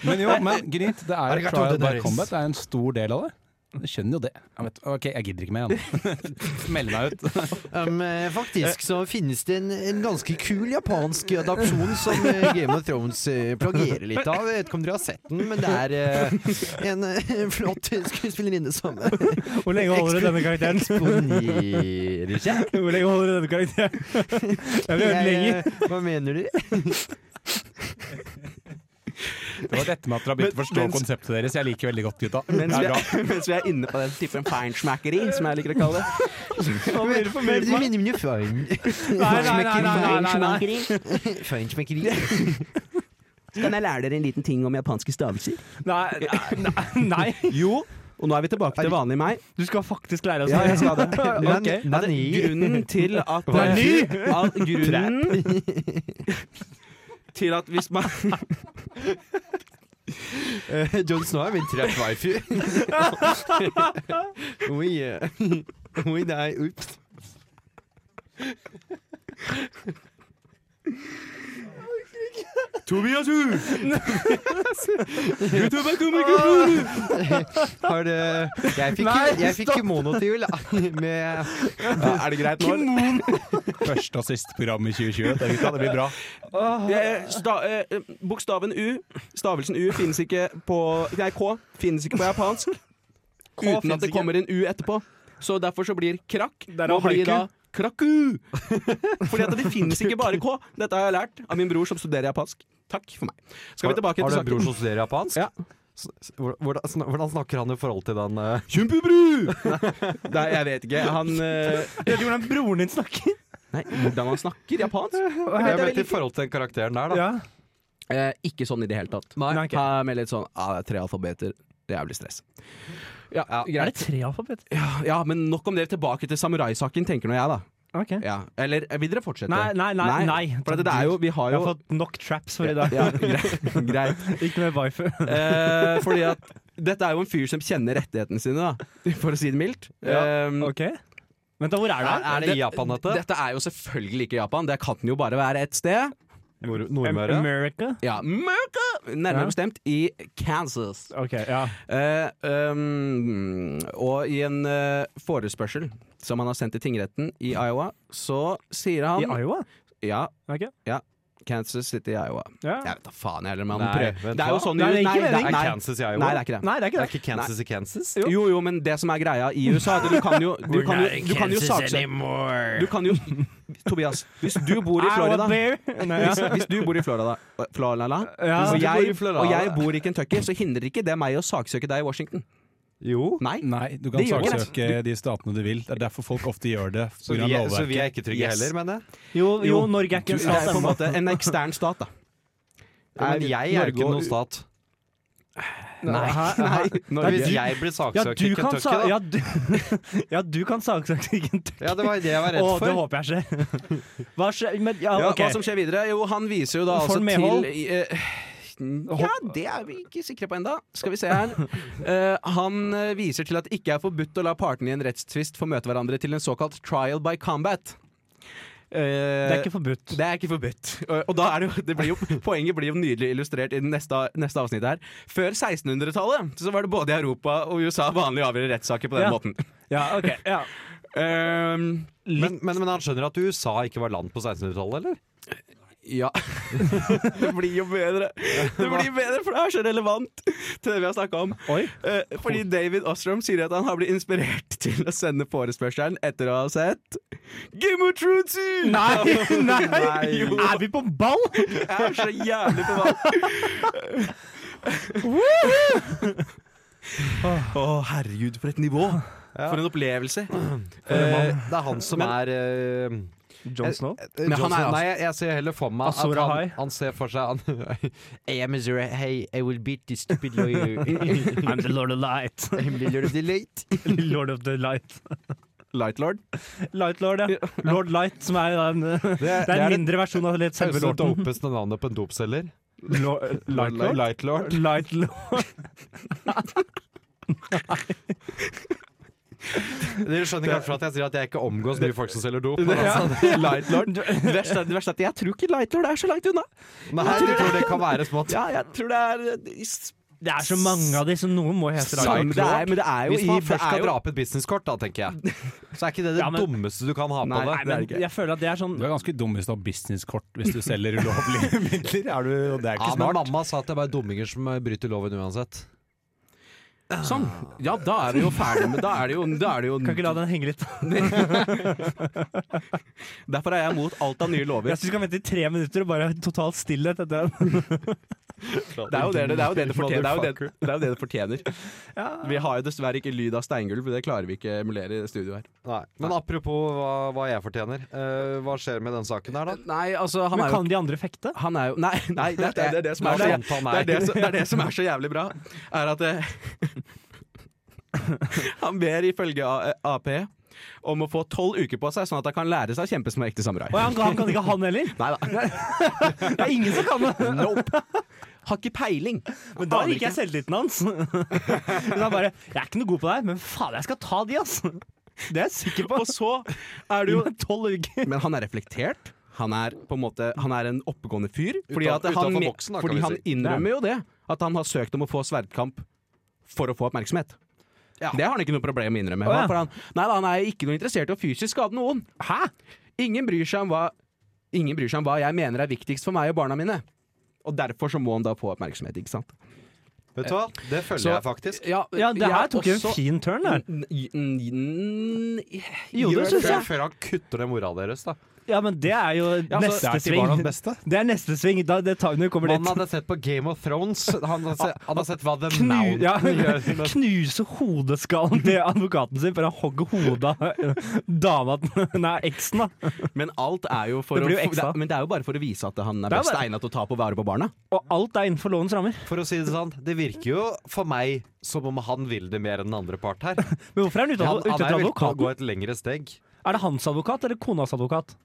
Speaker 8: Men jo, men greit, det er
Speaker 7: Arigato,
Speaker 8: trial by
Speaker 7: Daenerys.
Speaker 8: combat. Det er en stor del av det. Jeg skjønner jo det. Jeg vet, ok, jeg gidder ikke mer. han. Meld meg ut.
Speaker 9: Um, eh, faktisk så finnes det en, en ganske kul japansk adopsjon som eh, Game of Thrones eh, plagierer litt av. Jeg vet ikke om dere har sett den, men det er eh, en eh, flott skuespillerinne som
Speaker 5: Hvor lenge holder du denne karakteren?
Speaker 9: eksponerer seg.
Speaker 5: Hvor lenge holder du denne karakteren? Jeg vil høre lenger.
Speaker 9: Jeg, eh, Hva mener du?
Speaker 8: Det var dette med at dere har begynt å forstå konseptet deres. Jeg liker veldig godt, gutta.
Speaker 6: Mens vi, er, mens vi er inne på den typen feinschmackeri, som jeg liker å kalle det.
Speaker 9: Men- men Du minner meg om fein.
Speaker 5: Nei, nei, nei, nei, nei, nei, nei.
Speaker 6: Feinschmackeri.
Speaker 9: Feinschmeckeri.
Speaker 6: Kan jeg lære dere en liten ting om japanske stavelser?
Speaker 5: Nei, nei, nei.
Speaker 6: Jo. Og nå er vi tilbake til vanlig meg.
Speaker 5: Du skal faktisk lære oss
Speaker 6: Ja, jeg skal det.
Speaker 9: Nan-
Speaker 6: Ok. Altså,
Speaker 9: nani.
Speaker 6: Grunnen til at
Speaker 5: Nani?
Speaker 6: at Grunnen til at hvis man
Speaker 9: Eh, John Snow er min trap waifu. Oi, eh. Oi, nei, ups. Har det Jeg fikk,
Speaker 5: Nei,
Speaker 9: jeg fikk kimono til jul
Speaker 7: ah,
Speaker 9: da, med
Speaker 6: Er det greit nå?
Speaker 8: Første og siste program i 2020. Det, gutta, det blir bra.
Speaker 6: Eh, sta, eh, eh, bokstaven U, stavelsen U, finnes ikke på Nei, K finnes ikke på japansk. uten
Speaker 5: finnes
Speaker 6: at det
Speaker 5: ikke.
Speaker 6: kommer en U etterpå. Så derfor så blir krakk
Speaker 5: Der er
Speaker 6: Nå blir
Speaker 5: haiku.
Speaker 6: da kraku. Fordi at det finnes ikke bare K. Dette har jeg lært av min bror som studerer japansk. Takk for meg. Skal vi tilbake til
Speaker 7: Har du en bror
Speaker 6: saken?
Speaker 7: som studerer japansk?
Speaker 6: Ja.
Speaker 7: S- s- Hvordan, sn- hvordan snakker han i forhold til den eh,
Speaker 6: Nei, jeg vet ikke. Han eh,
Speaker 5: Jeg vet ikke hvordan broren din snakker.
Speaker 6: Nei, hvordan han snakker japansk?
Speaker 7: Jeg
Speaker 6: det er
Speaker 7: vet i forhold til den karakteren der, da.
Speaker 5: Ja.
Speaker 6: Eh, ikke sånn i det hele tatt.
Speaker 7: Nei.
Speaker 5: Nei, ok.
Speaker 6: Ha med litt sånn ah, det er tre alfabeter. Jævlig stress. Ja,
Speaker 5: Er det
Speaker 6: greit.
Speaker 5: tre alfabeter?
Speaker 6: Ja, men nok om det. Tilbake til samuraisaken, tenker nå jeg, da.
Speaker 5: Ok.
Speaker 6: Ja. Eller eh, vil dere fortsette?
Speaker 5: Nei, nei, nei, nei.
Speaker 6: For at det er jo, vi har
Speaker 5: Jeg
Speaker 6: jo
Speaker 5: har fått nok traps for i dag.
Speaker 6: ja, greit. greit.
Speaker 5: Ikke mer wifi.
Speaker 6: Eh, fordi at dette er jo en fyr som kjenner rettighetene sine, da. For å si det mildt.
Speaker 7: Ja,
Speaker 6: Eh,
Speaker 5: Ok. Vent da, hvor er det?
Speaker 6: er- er
Speaker 7: det i Japan, dette?
Speaker 6: Dette er jo selvfølgelig ikke Japan. Det kan jo bare være ett sted.
Speaker 7: Nord
Speaker 5: Am-
Speaker 7: Nordmøre?
Speaker 5: America?
Speaker 6: Ja, America! Nærmere
Speaker 5: Ja.
Speaker 6: bestemt i Kansas.
Speaker 5: Ok, ja.
Speaker 6: Eh, ehm, og i en eh, forespørsel som han har sendt til tingretten i Iowa, så sier han
Speaker 5: I Iowa?
Speaker 6: Ja,
Speaker 5: Ok.
Speaker 6: Kansas City, Iowa.
Speaker 5: Ja.
Speaker 6: Jeg vet da faen heller, men
Speaker 7: Nei,
Speaker 6: han prøver.
Speaker 7: vet
Speaker 6: Det er jo
Speaker 7: hva?
Speaker 6: sånn
Speaker 5: Nei,
Speaker 6: i-
Speaker 5: det er ikke
Speaker 6: nei,
Speaker 5: meningen.
Speaker 7: Er
Speaker 6: nei,
Speaker 7: Kansas i Iowa?
Speaker 6: nei, det er ikke det.
Speaker 5: Nei, det er
Speaker 7: Det
Speaker 5: ikke
Speaker 7: er
Speaker 5: det.
Speaker 7: ikke Kansas i Kansas?
Speaker 6: Jo. jo, men det som er greia i USA, er at du kan jo Du kan jo, du kan jo saksøke Du kan jo Tobias, hvis du bor i Florida
Speaker 5: Nei, ja.
Speaker 6: hvis, hvis du bor i Florida, Florida
Speaker 5: Ja.
Speaker 6: og,
Speaker 5: Hvis du bor i
Speaker 6: jeg,
Speaker 5: Florida.
Speaker 6: og jeg bor i Kentucky, så hindrer ikke det meg å saksøke deg i Washington.
Speaker 7: Jo.
Speaker 6: Nei.
Speaker 8: Nei, du kan
Speaker 6: Det gjør ikke det.
Speaker 8: saksøke de statene du vil. Det er derfor folk ofte gjør det. på
Speaker 7: Så vi,
Speaker 8: grunn av
Speaker 7: er, så vi er
Speaker 8: lovverket.
Speaker 7: ikke trygge
Speaker 6: Yes.
Speaker 7: heller, mener jeg.
Speaker 5: Jo, jo, Norge er ikke en
Speaker 6: Du det er
Speaker 5: stat
Speaker 6: på en
Speaker 5: ennå.
Speaker 6: måte en ekstern stat, da.
Speaker 7: Men jeg er ikke noen stat.
Speaker 6: Nei. Nei.
Speaker 7: Nei, hvis
Speaker 6: Norge.
Speaker 7: jeg blir
Speaker 5: Ja,
Speaker 7: saksøkt
Speaker 5: du
Speaker 7: i
Speaker 5: kan
Speaker 7: Kentucky,
Speaker 5: sa...
Speaker 7: da.
Speaker 5: Ja, du, ja, du kan saksøke i Kentucky.
Speaker 7: Ja, det var det jeg var
Speaker 5: Å,
Speaker 7: redd
Speaker 5: det
Speaker 7: for.
Speaker 5: håper jeg skjer. Hva skjer men, ja,
Speaker 6: Ja,
Speaker 5: ok.
Speaker 6: Hva som skjer videre? Jo, han viser jo da
Speaker 5: Får
Speaker 6: altså
Speaker 5: han medhold?
Speaker 6: til eh, ja, det er vi ikke sikre på enda Skal vi se her. Eh, han eh, viser til at det ikke er forbudt å la partene i en rettstvist få møte hverandre til en såkalt trial by combat.
Speaker 5: Det er ikke forbudt.
Speaker 6: Det er ikke forbudt. Og- Og da er det, jo- det blir jo, poenget blir jo nydelig illustrert i det neste, neste avsnitt her. Før 1600-tallet så var det både i Europa og USA vanlig å avgjøre rettssaker på den
Speaker 5: Ja.
Speaker 6: måten.
Speaker 5: Ja, ok. Ja.
Speaker 6: Ehm,
Speaker 7: Men, men, men han skjønner at USA ikke var land på 1600-tallet, eller?
Speaker 6: Ja. det blir jo bedre. Det blir bedre, for det er så relevant til det vi har snakka om.
Speaker 5: Oi.
Speaker 6: Eh, fordi David Ostrom sier at han har blitt inspirert til å sende forespørselen etter å ha sett Game of Thrones!
Speaker 5: Nei, nei,
Speaker 6: Jo.
Speaker 5: Er vi på ball?!
Speaker 6: Jeg er så jævlig på vann. Å, herregud, for et nivå! For en opplevelse.
Speaker 7: Eh, det er han som er eh,
Speaker 5: John Snow?
Speaker 7: eh,
Speaker 6: Men han
Speaker 7: Johnson-
Speaker 6: er altså-
Speaker 7: Nei, jeg, jeg ser heller for meg at
Speaker 5: Azor Ahai.
Speaker 7: han, han ser for seg han,
Speaker 9: I am Azura. Hey, I will beat this stupid lawyer.
Speaker 5: I'm the lord of light.
Speaker 9: I'm the lord of the light.
Speaker 5: Lord of the light.
Speaker 6: Lightlord.
Speaker 5: Light Lord, ja. Lord Light, som er en, det
Speaker 7: Det er
Speaker 5: er en mindre versjon av litt selve
Speaker 7: Høres det
Speaker 5: lorden.
Speaker 7: dopeste navnet på en dopselger?
Speaker 5: Lord- eh, Light Lord?
Speaker 7: Lightlord?
Speaker 5: Light Lord.
Speaker 7: Dere skjønner kanskje at jeg sier at jeg ikke omgås mye folk som selger dop. men Altså,
Speaker 6: Lightlord. Det verste, er- det verste er at jeg tror ikke Lightlord er så langt unna.
Speaker 7: nei, jeg tror det kan være smått.
Speaker 6: Ja, jeg tror det er eh,
Speaker 5: Det er så mange av de, så noen må hete Light
Speaker 6: Samme-
Speaker 5: Lord.
Speaker 6: det er, Men det er jo
Speaker 7: Hvis man
Speaker 6: i-
Speaker 7: først
Speaker 6: det er
Speaker 7: skal
Speaker 6: jo-
Speaker 7: dra opp et businesskort, da, tenker jeg, så er ikke det det
Speaker 5: Ja, men-
Speaker 7: dummeste du kan ha på
Speaker 6: Nei,
Speaker 7: det.
Speaker 5: Nei, men
Speaker 6: det er det ikke.
Speaker 5: jeg føler at det er sånn
Speaker 8: Du er ganske dum hvis du har businesskort hvis du selger ulovlige midler. Er du, og det er
Speaker 7: Ja,
Speaker 8: ikke
Speaker 7: men
Speaker 8: smart.
Speaker 7: mamma sa at det er bare dumminger som eh, bryter loven uansett.
Speaker 6: Sånn. Ja, da er vi jo ferdig med Da er det jo, da er det jo
Speaker 5: Kan ikke la den henge litt.
Speaker 6: Derfor er jeg mot alt av nye lover.
Speaker 5: Jeg syns vi kan vente i tre minutter og bare ha total stillhet etter den.
Speaker 6: Det er jo det det, det, er jo det, det, fortjener, det, er jo det, det, er jo det det fortjener. Vi har jo dessverre ikke lyd av steingulv, det klarer vi ikke emulere i det studioet her.
Speaker 7: Nei. Men apropos hva, hva jeg fortjener. eh, hva skjer med den saken her, da?
Speaker 6: Nei, altså han
Speaker 5: Men
Speaker 6: er jo,
Speaker 5: kan de andre fekte?
Speaker 6: han er jo Nei, nei det, er- det er det som er
Speaker 7: Lars
Speaker 6: så jævlig
Speaker 7: Anton
Speaker 6: det, er
Speaker 7: er
Speaker 6: det, som, det er det som er så jævlig bra, er at eh, Han ber ifølge A- Ap om å få tolv uker på seg, sånn at han kan lære seg å kjempe som en ekte samurai.
Speaker 5: Å, ja, han, kan, han kan ikke han heller?
Speaker 6: Nei da.
Speaker 5: Det er ingen som kan det!
Speaker 6: Nope. Har ikke peiling.
Speaker 5: Men da
Speaker 6: Aner
Speaker 5: liker jeg selvtilliten hans. Men han bare 'Jeg er ikke noe god på det her, men faen, jeg skal ta de, ass'. Det er jeg sikker på.
Speaker 6: Og så er det jo
Speaker 5: Innen tolv uker.
Speaker 6: Men han er reflektert. Han er på en måte Han er en oppegående fyr. Fordi,
Speaker 7: Uta-
Speaker 6: at han,
Speaker 7: utenfor
Speaker 6: me-
Speaker 7: boksen, da, kan
Speaker 6: fordi
Speaker 7: vi
Speaker 6: han
Speaker 7: si.
Speaker 6: innrømmer jo det. At han har søkt om å få sverdkamp for å få oppmerksomhet. Det har han ikke noe problem med å innrømme.
Speaker 5: Å, ja.
Speaker 6: for han, nei, da, han er ikke noe interessert i å fysisk skade noen. Hæ? Ingen bryr seg om hva Ingen bryr seg om hva jeg mener er viktigst for meg og barna mine. Og derfor så må han da få oppmerksomhet, ikke sant?
Speaker 7: Vet du hva? Det følger
Speaker 6: Så-
Speaker 7: jeg faktisk.
Speaker 5: Ja, det her tok jo en
Speaker 6: fint
Speaker 5: fin turn, der. Jo,
Speaker 6: Jo,
Speaker 5: det synes
Speaker 7: Før,
Speaker 5: jeg.
Speaker 7: før han kutter den mora deres, da.
Speaker 5: Ja, men det er jo
Speaker 8: Det
Speaker 5: neste
Speaker 8: er til
Speaker 5: sving.
Speaker 8: barna beste.
Speaker 5: Det er neste sving. Da, det tar vi når vi kommer
Speaker 7: Mannen
Speaker 5: dit.
Speaker 7: hadde sett på Game of Thrones. Han hadde sett, han hadde sett hva The
Speaker 5: Knu,
Speaker 7: Mountain
Speaker 5: ja,
Speaker 7: gjør.
Speaker 5: knuse hodeskallen til advokaten sin, for han hogger hodet av dama Nei, eksen, da.
Speaker 6: Men alt er jo for
Speaker 5: Det blir jo
Speaker 6: å,
Speaker 5: ekstra.
Speaker 6: det, Men det er jo bare for å vise at han er
Speaker 5: Det er
Speaker 6: best
Speaker 5: bare-
Speaker 6: egnet til å ta på vare på barna.
Speaker 5: Og alt er innenfor lovens rammer.
Speaker 7: For å si det sånn, det virker jo for meg som om han vil det mer enn den andre part her.
Speaker 5: Men hvorfor er han ute
Speaker 7: Han,
Speaker 5: ute
Speaker 7: han
Speaker 5: etter
Speaker 7: er villig til å
Speaker 5: advokaten?
Speaker 7: gå et lengre steg.
Speaker 5: Er det hans advokat eller konas advokat?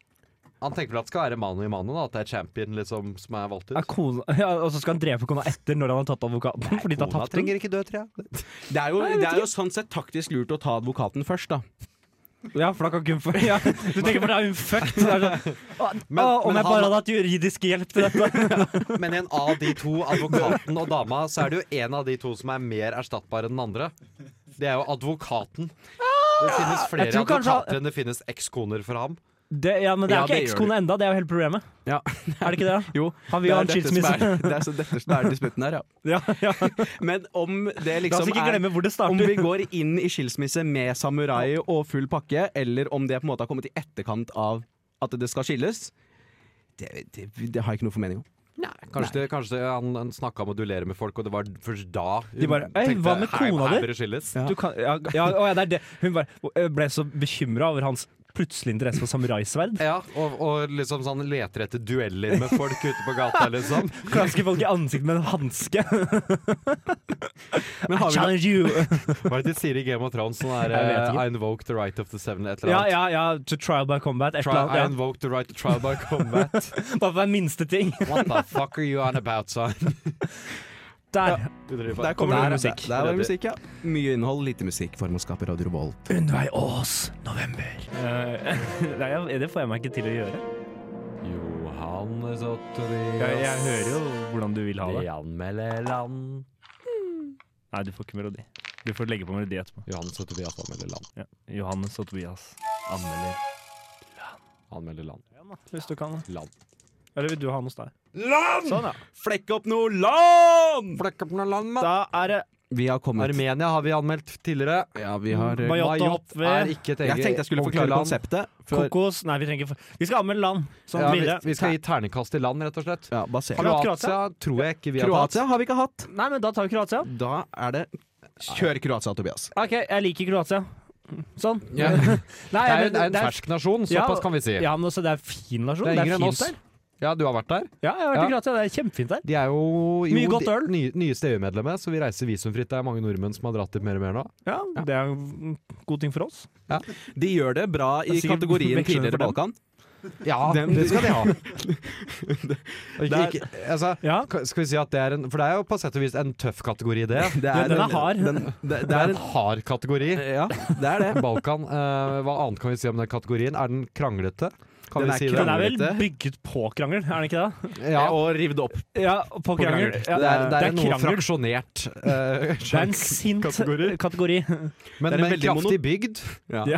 Speaker 7: Han tenker vel at det skal være mann i mannen, da, at det er champion liksom, som er valgt ut.
Speaker 5: Er kona, ja, og så skal han drepe kona etter når han har tatt advokaten? Fordi da
Speaker 7: Kona
Speaker 5: tapte hun?
Speaker 7: trenger ikke dø, tror jeg.
Speaker 6: Det er jo, det er jo sånn sett taktisk lurt å ta advokaten først, da.
Speaker 5: Ja, for da kan ikke hun få- ja, Du tenker på det, er hun fucked? Det er sånn, å,
Speaker 7: Men-
Speaker 5: å, om
Speaker 7: men
Speaker 5: jeg bare
Speaker 7: han-
Speaker 5: hadde hatt juridisk hjelp til dette!
Speaker 7: Men en av de to, advokaten og dama, så er det jo en av de to som er mer erstattbar enn den andre. Det er jo advokaten. Det finnes flere
Speaker 5: Jeg tror kanskje-
Speaker 7: advokater enn det finnes ekskoner for ham.
Speaker 5: Det, ja, men det er
Speaker 6: Ja,
Speaker 5: jo ikke
Speaker 6: det gjør
Speaker 5: ekskone enda, det er jo hele problemet.
Speaker 6: Ja.
Speaker 5: Er det ikke det? da?
Speaker 6: Jo,
Speaker 5: Han vil
Speaker 6: det
Speaker 5: ha
Speaker 6: er
Speaker 5: en
Speaker 6: dette som er-
Speaker 5: skilsmisse.
Speaker 6: Det er så dette som er disputten her, ja.
Speaker 5: Ja, ja.
Speaker 6: Men om det
Speaker 5: La oss
Speaker 6: liksom
Speaker 5: ikke
Speaker 6: er
Speaker 5: glemme hvor det
Speaker 6: om
Speaker 5: starter.
Speaker 6: vi går inn i skilsmisse med samurai og full pakke, eller om det på en måte har kommet i etterkant av at det skal skilles, det, det, det har jeg ikke noe formening om.
Speaker 7: Kanskje, det, kanskje det, han, han snakka om å duellere med folk, og det var først da hun
Speaker 5: De bare, «Ei, hva med
Speaker 7: «Her-
Speaker 5: kona
Speaker 7: her
Speaker 5: di?»
Speaker 7: bør det skilles.
Speaker 5: Du kan, ja, ja, å, ja, det er det. Hun bare ble så bekymra over hans plutselige interesse for samuraisverd.
Speaker 7: Ja, og, og liksom sånn leter etter dueller med folk ute på gata, liksom.
Speaker 5: Klasker folk i ansiktet med en hanske.
Speaker 6: Men har vi,
Speaker 5: Challenge you!
Speaker 7: Hva er det de sier i Game of Thrones? Sånn der,
Speaker 5: Jeg vet
Speaker 7: eh,
Speaker 5: ikke.
Speaker 7: I invoke the right of the seven, et eller
Speaker 5: Ja,
Speaker 7: annet.
Speaker 5: ja, ja. To trial by combat. Et
Speaker 7: Try,
Speaker 5: eller
Speaker 7: I
Speaker 5: annet.
Speaker 7: invoke the right to trial by combat.
Speaker 5: Ja. Bare for den minste ting.
Speaker 7: What the fuck are you on about, son?
Speaker 5: Der.
Speaker 6: der
Speaker 5: Der
Speaker 6: kommer
Speaker 5: er
Speaker 6: det musikk.
Speaker 5: musikk.
Speaker 6: Der var det musikk, ja. Mye innhold, lite musikk. Formålsskaper Radio Revolt.
Speaker 5: Unnveig Ås, november. Eh, Nei, jeg- det får jeg meg ikke til å gjøre.
Speaker 7: Johannes og Tobias.
Speaker 5: Jeg, jeg hører jo hvordan du vil ha
Speaker 7: De
Speaker 5: det.
Speaker 7: anmelder land.
Speaker 5: Nei, du får ikke melodi. Du får legge på melodi etterpå.
Speaker 7: Johannes og Tobias anmelder land.
Speaker 5: Ja. Johannes og Tobias anmelder.
Speaker 7: Anmelder land.
Speaker 5: Hvis du kan.
Speaker 7: Land.
Speaker 5: Eller vil du ha den hos deg?
Speaker 6: Land!
Speaker 5: Sånn, ja.
Speaker 6: Flekke opp noe land!
Speaker 5: Da er det
Speaker 6: Vi har kommet.
Speaker 7: Armenia har vi anmeldt tidligere.
Speaker 6: Ja, vi har eh,
Speaker 5: Mayotte opp
Speaker 7: er
Speaker 5: ved
Speaker 7: ikke et
Speaker 6: Jeg
Speaker 7: eget
Speaker 6: tenkte jeg skulle
Speaker 7: ordentlig
Speaker 6: forklare
Speaker 7: land.
Speaker 6: konseptet. For,
Speaker 5: kokos Nei, vi trenger ikke for- Vi skal anmelde land. Sånn
Speaker 7: Ja,
Speaker 5: videre.
Speaker 7: vi, vi skal gi terningkast til land, rett og slett.
Speaker 6: ja, basert.
Speaker 5: Kroatia.
Speaker 7: Kroatia tror jeg ikke vi har tatt.
Speaker 6: Kroatia har vi ikke hatt.
Speaker 5: Nei, men da tar vi Kroatia.
Speaker 6: Da er det Kjør Kroatia, Tobias.
Speaker 5: OK, jeg liker Kroatia. Sånn.
Speaker 7: Ja.
Speaker 5: Nei,
Speaker 7: Det er
Speaker 5: men
Speaker 7: en, det er en fersk nasjon,
Speaker 5: Ja,
Speaker 7: såpass kan vi si.
Speaker 5: Ja, men også, det er fin nasjon.
Speaker 7: Det er yngre enn
Speaker 5: fint
Speaker 7: oss.
Speaker 5: der.
Speaker 7: Ja, du har vært der.
Speaker 5: Ja, jeg har vært
Speaker 7: Ja.
Speaker 5: i Kroatia. Det er kjempefint der.
Speaker 7: De er jo, jo
Speaker 5: Mye godt
Speaker 7: de-
Speaker 5: øl.
Speaker 7: Nye, nyeste EU-medlemmer, så vi reiser visumfritt. Det er mange nordmenn som har dratt dit mer og mer nå.
Speaker 5: Ja, Det er en god ting for oss.
Speaker 6: De gjør det bra i
Speaker 5: Det er sikkert
Speaker 6: kategorien
Speaker 5: vekslende for
Speaker 6: tidligere
Speaker 5: dem.
Speaker 6: Balkan.
Speaker 7: Ja,
Speaker 6: Dem-
Speaker 7: det skal de ha. Og Ikke,
Speaker 6: Det er-
Speaker 7: ikke, altså,
Speaker 5: Ja,
Speaker 7: ka- skal vi si at det er en For det er jo på sett og vis en tøff kategori, det.
Speaker 6: Det
Speaker 5: Ja, den er hard.
Speaker 6: Den, det,
Speaker 7: Det
Speaker 6: det
Speaker 7: er
Speaker 6: er
Speaker 7: en hard kategori.
Speaker 6: en Ja, det er det.
Speaker 7: Balkan. eh, hva annet kan vi si om den kategorien? Er den kranglete? Kan
Speaker 6: Den
Speaker 7: vi
Speaker 6: er
Speaker 7: si
Speaker 5: Den
Speaker 7: det?
Speaker 5: er vel
Speaker 6: Kranglete.
Speaker 5: bygget på krangel, er den ikke det?
Speaker 7: Ja,
Speaker 6: og rivd opp.
Speaker 5: Ja, på krangel. Ja,
Speaker 7: det er, det er,
Speaker 5: det er
Speaker 7: noe
Speaker 5: krangel.
Speaker 7: fraksjonert. eh,
Speaker 5: Det er en sint kategori.
Speaker 7: kategori. men
Speaker 6: Det er en
Speaker 7: men
Speaker 6: veldig mono-
Speaker 7: kraftig bygd.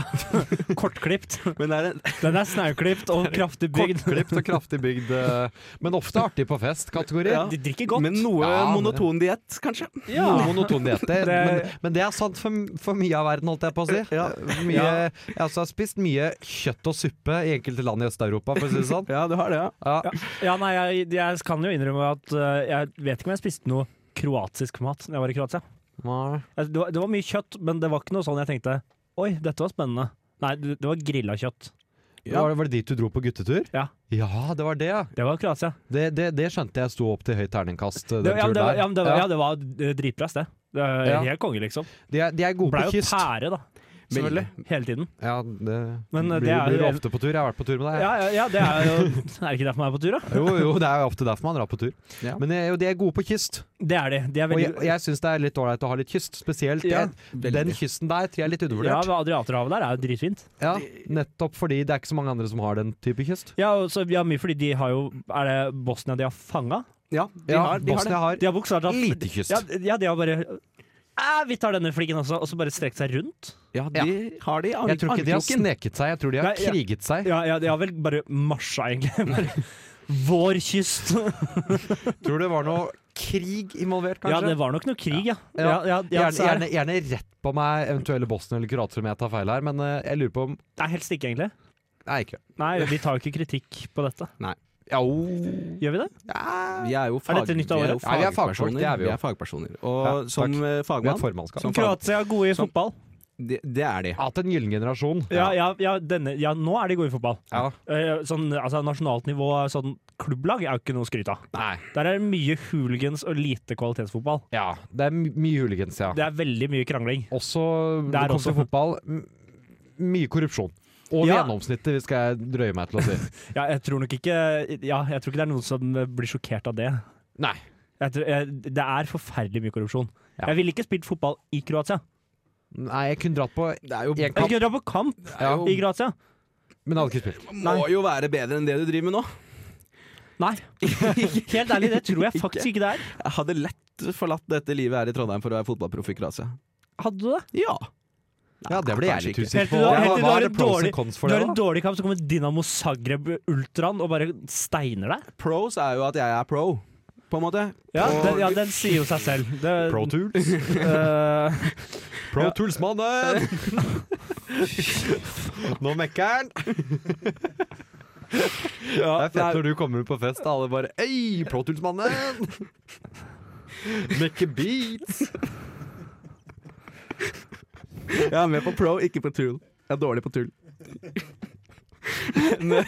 Speaker 5: Kortklipt.
Speaker 6: Men det er en,
Speaker 5: Den er snauklipt og kraftig bygd.
Speaker 7: Kortklipt og kraftig bygd. eh, men ofte artig på fest-kategori.
Speaker 6: Ja.
Speaker 5: De drikker godt.
Speaker 6: men noe
Speaker 7: Ja, men-
Speaker 6: monoton diett, kanskje.
Speaker 5: Ja.
Speaker 7: Noe monoton diett. det-
Speaker 5: Det-
Speaker 7: Men, men det er sant for, for mye av verden, holdt jeg på å si.
Speaker 6: Ja.
Speaker 7: Mye, Jeg altså, har spist mye kjøtt og suppe i enkelte land i Øst-Europa, for å si det sånn.
Speaker 6: Ja, du har det, ja.
Speaker 7: Ja.
Speaker 5: Ja, nei, jeg, jeg kan jo innrømme at eh, jeg vet ikke om jeg spiste noe kroatisk mat da jeg var i Kroatia.
Speaker 7: Nei.
Speaker 5: Altså, Det var, det var mye kjøtt, men det var ikke noe sånn jeg tenkte Oi, dette var spennende. Nei, det, det var grilla kjøtt.
Speaker 6: Ja.
Speaker 7: Var, det, var det dit du dro på guttetur?
Speaker 5: Ja.
Speaker 7: Ja, det var det, ja.
Speaker 5: Det var Kroatia.
Speaker 7: Det, det, det skjønte jeg sto opp til høyt terningkast. eh, Den
Speaker 5: Det, ja,
Speaker 7: turen
Speaker 5: men det, var-
Speaker 7: der.
Speaker 5: ja, men det, var-
Speaker 7: Ja.
Speaker 5: ja, det var eh, dritbra sted. Det er
Speaker 7: Ja.
Speaker 5: Helt konge, liksom.
Speaker 7: De, er, de er gode
Speaker 5: Blei
Speaker 7: på
Speaker 5: jo
Speaker 7: kyst.
Speaker 5: pære, da. Selvfølgelig. Hele tiden.
Speaker 7: Ja, det,
Speaker 5: Men, eh,
Speaker 7: blir,
Speaker 5: det er jo-
Speaker 7: blir du ofte på tur. Jeg har vært på tur med deg. jeg.
Speaker 5: Ja, ja, ja det er jo Er det ikke derfor man er på tur, da?
Speaker 7: Jo, jo, det er jo ofte derfor man drar på tur.
Speaker 6: Ja.
Speaker 7: Men eh, jo, de er gode på kyst.
Speaker 5: Det er de. De er
Speaker 7: Og
Speaker 5: veldig
Speaker 7: jeg, og jeg syns det er litt ålreit å ha litt kyst. Spesielt
Speaker 6: Ja,
Speaker 7: det, den kysten der tror jeg er litt
Speaker 5: Ja,
Speaker 7: undervurdert.
Speaker 5: men Adriaterhavet der er jo dritfint.
Speaker 7: Ja, nettopp fordi det er ikke så mange andre som har den type kyst.
Speaker 5: Ja, og så, ja, mye fordi de har jo Er det Bosnia de har fanga?
Speaker 6: Ja, de
Speaker 7: Ja,
Speaker 6: har, de har det.
Speaker 7: Bosnia har
Speaker 5: De har bokstavelig talt
Speaker 7: lite kyst.
Speaker 5: ja, ja, de har bare Æ, vi tar denne flikken også, og så bare strekt seg rundt.
Speaker 6: Ja, de har det i
Speaker 7: Jeg tror ikke de har
Speaker 6: armkroken.
Speaker 7: sneket seg, jeg tror de har
Speaker 5: Nei, ja.
Speaker 7: kriget seg.
Speaker 5: Ja, ja, de har vel bare marsja, egentlig. Bare, vår kyst.
Speaker 7: Tror det var noe krig involvert,
Speaker 5: Ja, det
Speaker 7: kanskje?
Speaker 5: var nok noe krig, ja.
Speaker 7: Ja.
Speaker 5: ja, ja, ja,
Speaker 7: Gjerne,
Speaker 5: så er
Speaker 7: gjerne, gjerne rett på meg, eventuelle Bosnia eller kroater om jeg tar feil her, men eh, jeg lurer på om
Speaker 5: det- Nei, helst ikke, egentlig.
Speaker 7: Nei, ikke.
Speaker 5: Nei, vi tar jo ikke kritikk på dette.
Speaker 7: Ja, o.
Speaker 5: Gjør vi det?
Speaker 6: oh. Vi er jo,
Speaker 5: Er
Speaker 6: fag,
Speaker 5: dette nytt av
Speaker 6: vi er jo
Speaker 5: året?
Speaker 7: Nei, vi er fagfolk,
Speaker 6: fagpersoner.
Speaker 7: det er vi jo.
Speaker 6: fagpersoner. Og
Speaker 7: Ja,
Speaker 6: som
Speaker 7: takk.
Speaker 6: eh,
Speaker 7: Vi har et
Speaker 6: fagmann
Speaker 7: formannskap.
Speaker 6: som fag,
Speaker 5: Kroatia er gode i
Speaker 6: Som-
Speaker 5: fotball.
Speaker 6: det, det er de.
Speaker 7: At en gyllen generasjon.
Speaker 5: Ja, ja, ja, denne, ja, nå er de gode i fotball.
Speaker 7: Ja.
Speaker 5: Eh, Sånn, altså, nasjonalt nivå, sånn klubblag, er jo ikke noe å skryte av.
Speaker 7: Nei.
Speaker 5: Der er det mye hooligans og lite kvalitetsfotball.
Speaker 7: Ja, det er my- mye hooligans, ja.
Speaker 5: Det er veldig mye krangling.
Speaker 7: Også når
Speaker 5: Det
Speaker 7: det
Speaker 5: er
Speaker 7: kommer
Speaker 5: også-
Speaker 7: til fotball, m- mye korrupsjon. Over
Speaker 5: Ja.
Speaker 7: gjennomsnittet, hvis skal jeg drøye meg til å si.
Speaker 5: Ja, jeg tror nok ikke Ja, jeg tror ikke det er noen som eh, blir sjokkert av det.
Speaker 7: Nei.
Speaker 5: Jeg tror, jeg, det er forferdelig mye korrupsjon.
Speaker 7: Ja.
Speaker 5: Jeg ville ikke spilt fotball i Kroatia.
Speaker 7: Nei, jeg kunne dratt på
Speaker 6: Det er jo,
Speaker 7: en
Speaker 5: Jeg
Speaker 7: kamp,
Speaker 5: skulle dra på kamp
Speaker 7: ja,
Speaker 5: i Kroatia.
Speaker 7: men hadde ikke spilt.
Speaker 6: må jo være bedre enn det du driver med nå.
Speaker 5: Nei. Helt ærlig, det tror jeg faktisk ikke det er.
Speaker 6: Jeg hadde lett forlatt dette livet her i Trondheim for å være fotballproff i Kroatia.
Speaker 5: Hadde du det?
Speaker 6: Ja.
Speaker 7: Ja, det ble jeg
Speaker 6: kanskje
Speaker 7: litt
Speaker 6: ikke.
Speaker 7: usikker
Speaker 5: Helt
Speaker 7: på.
Speaker 5: til du- helt til du
Speaker 7: Hva
Speaker 5: har
Speaker 7: er det
Speaker 5: en
Speaker 7: pros
Speaker 5: dårlig-
Speaker 7: and cons for
Speaker 5: Du
Speaker 7: det,
Speaker 5: har en
Speaker 7: da?
Speaker 5: delig kamp, så kommer Dinamo Zagreb Ultraen og bare steiner deg.
Speaker 6: Pros er jo at jeg er pro, på en måte.
Speaker 5: Ja, den, ja, den sier jo seg selv. Det,
Speaker 7: Pro Tools?
Speaker 5: eh,
Speaker 7: Pro Tools-mannen! Nå mekker'n!
Speaker 6: Ja,
Speaker 7: Det er fett når du kommer på fest, og alle bare Øy, Pro Tools-mannen! Mekke beats!
Speaker 6: Jeg er med på pro, ikke på tull. Jeg er dårlig på tull. Men,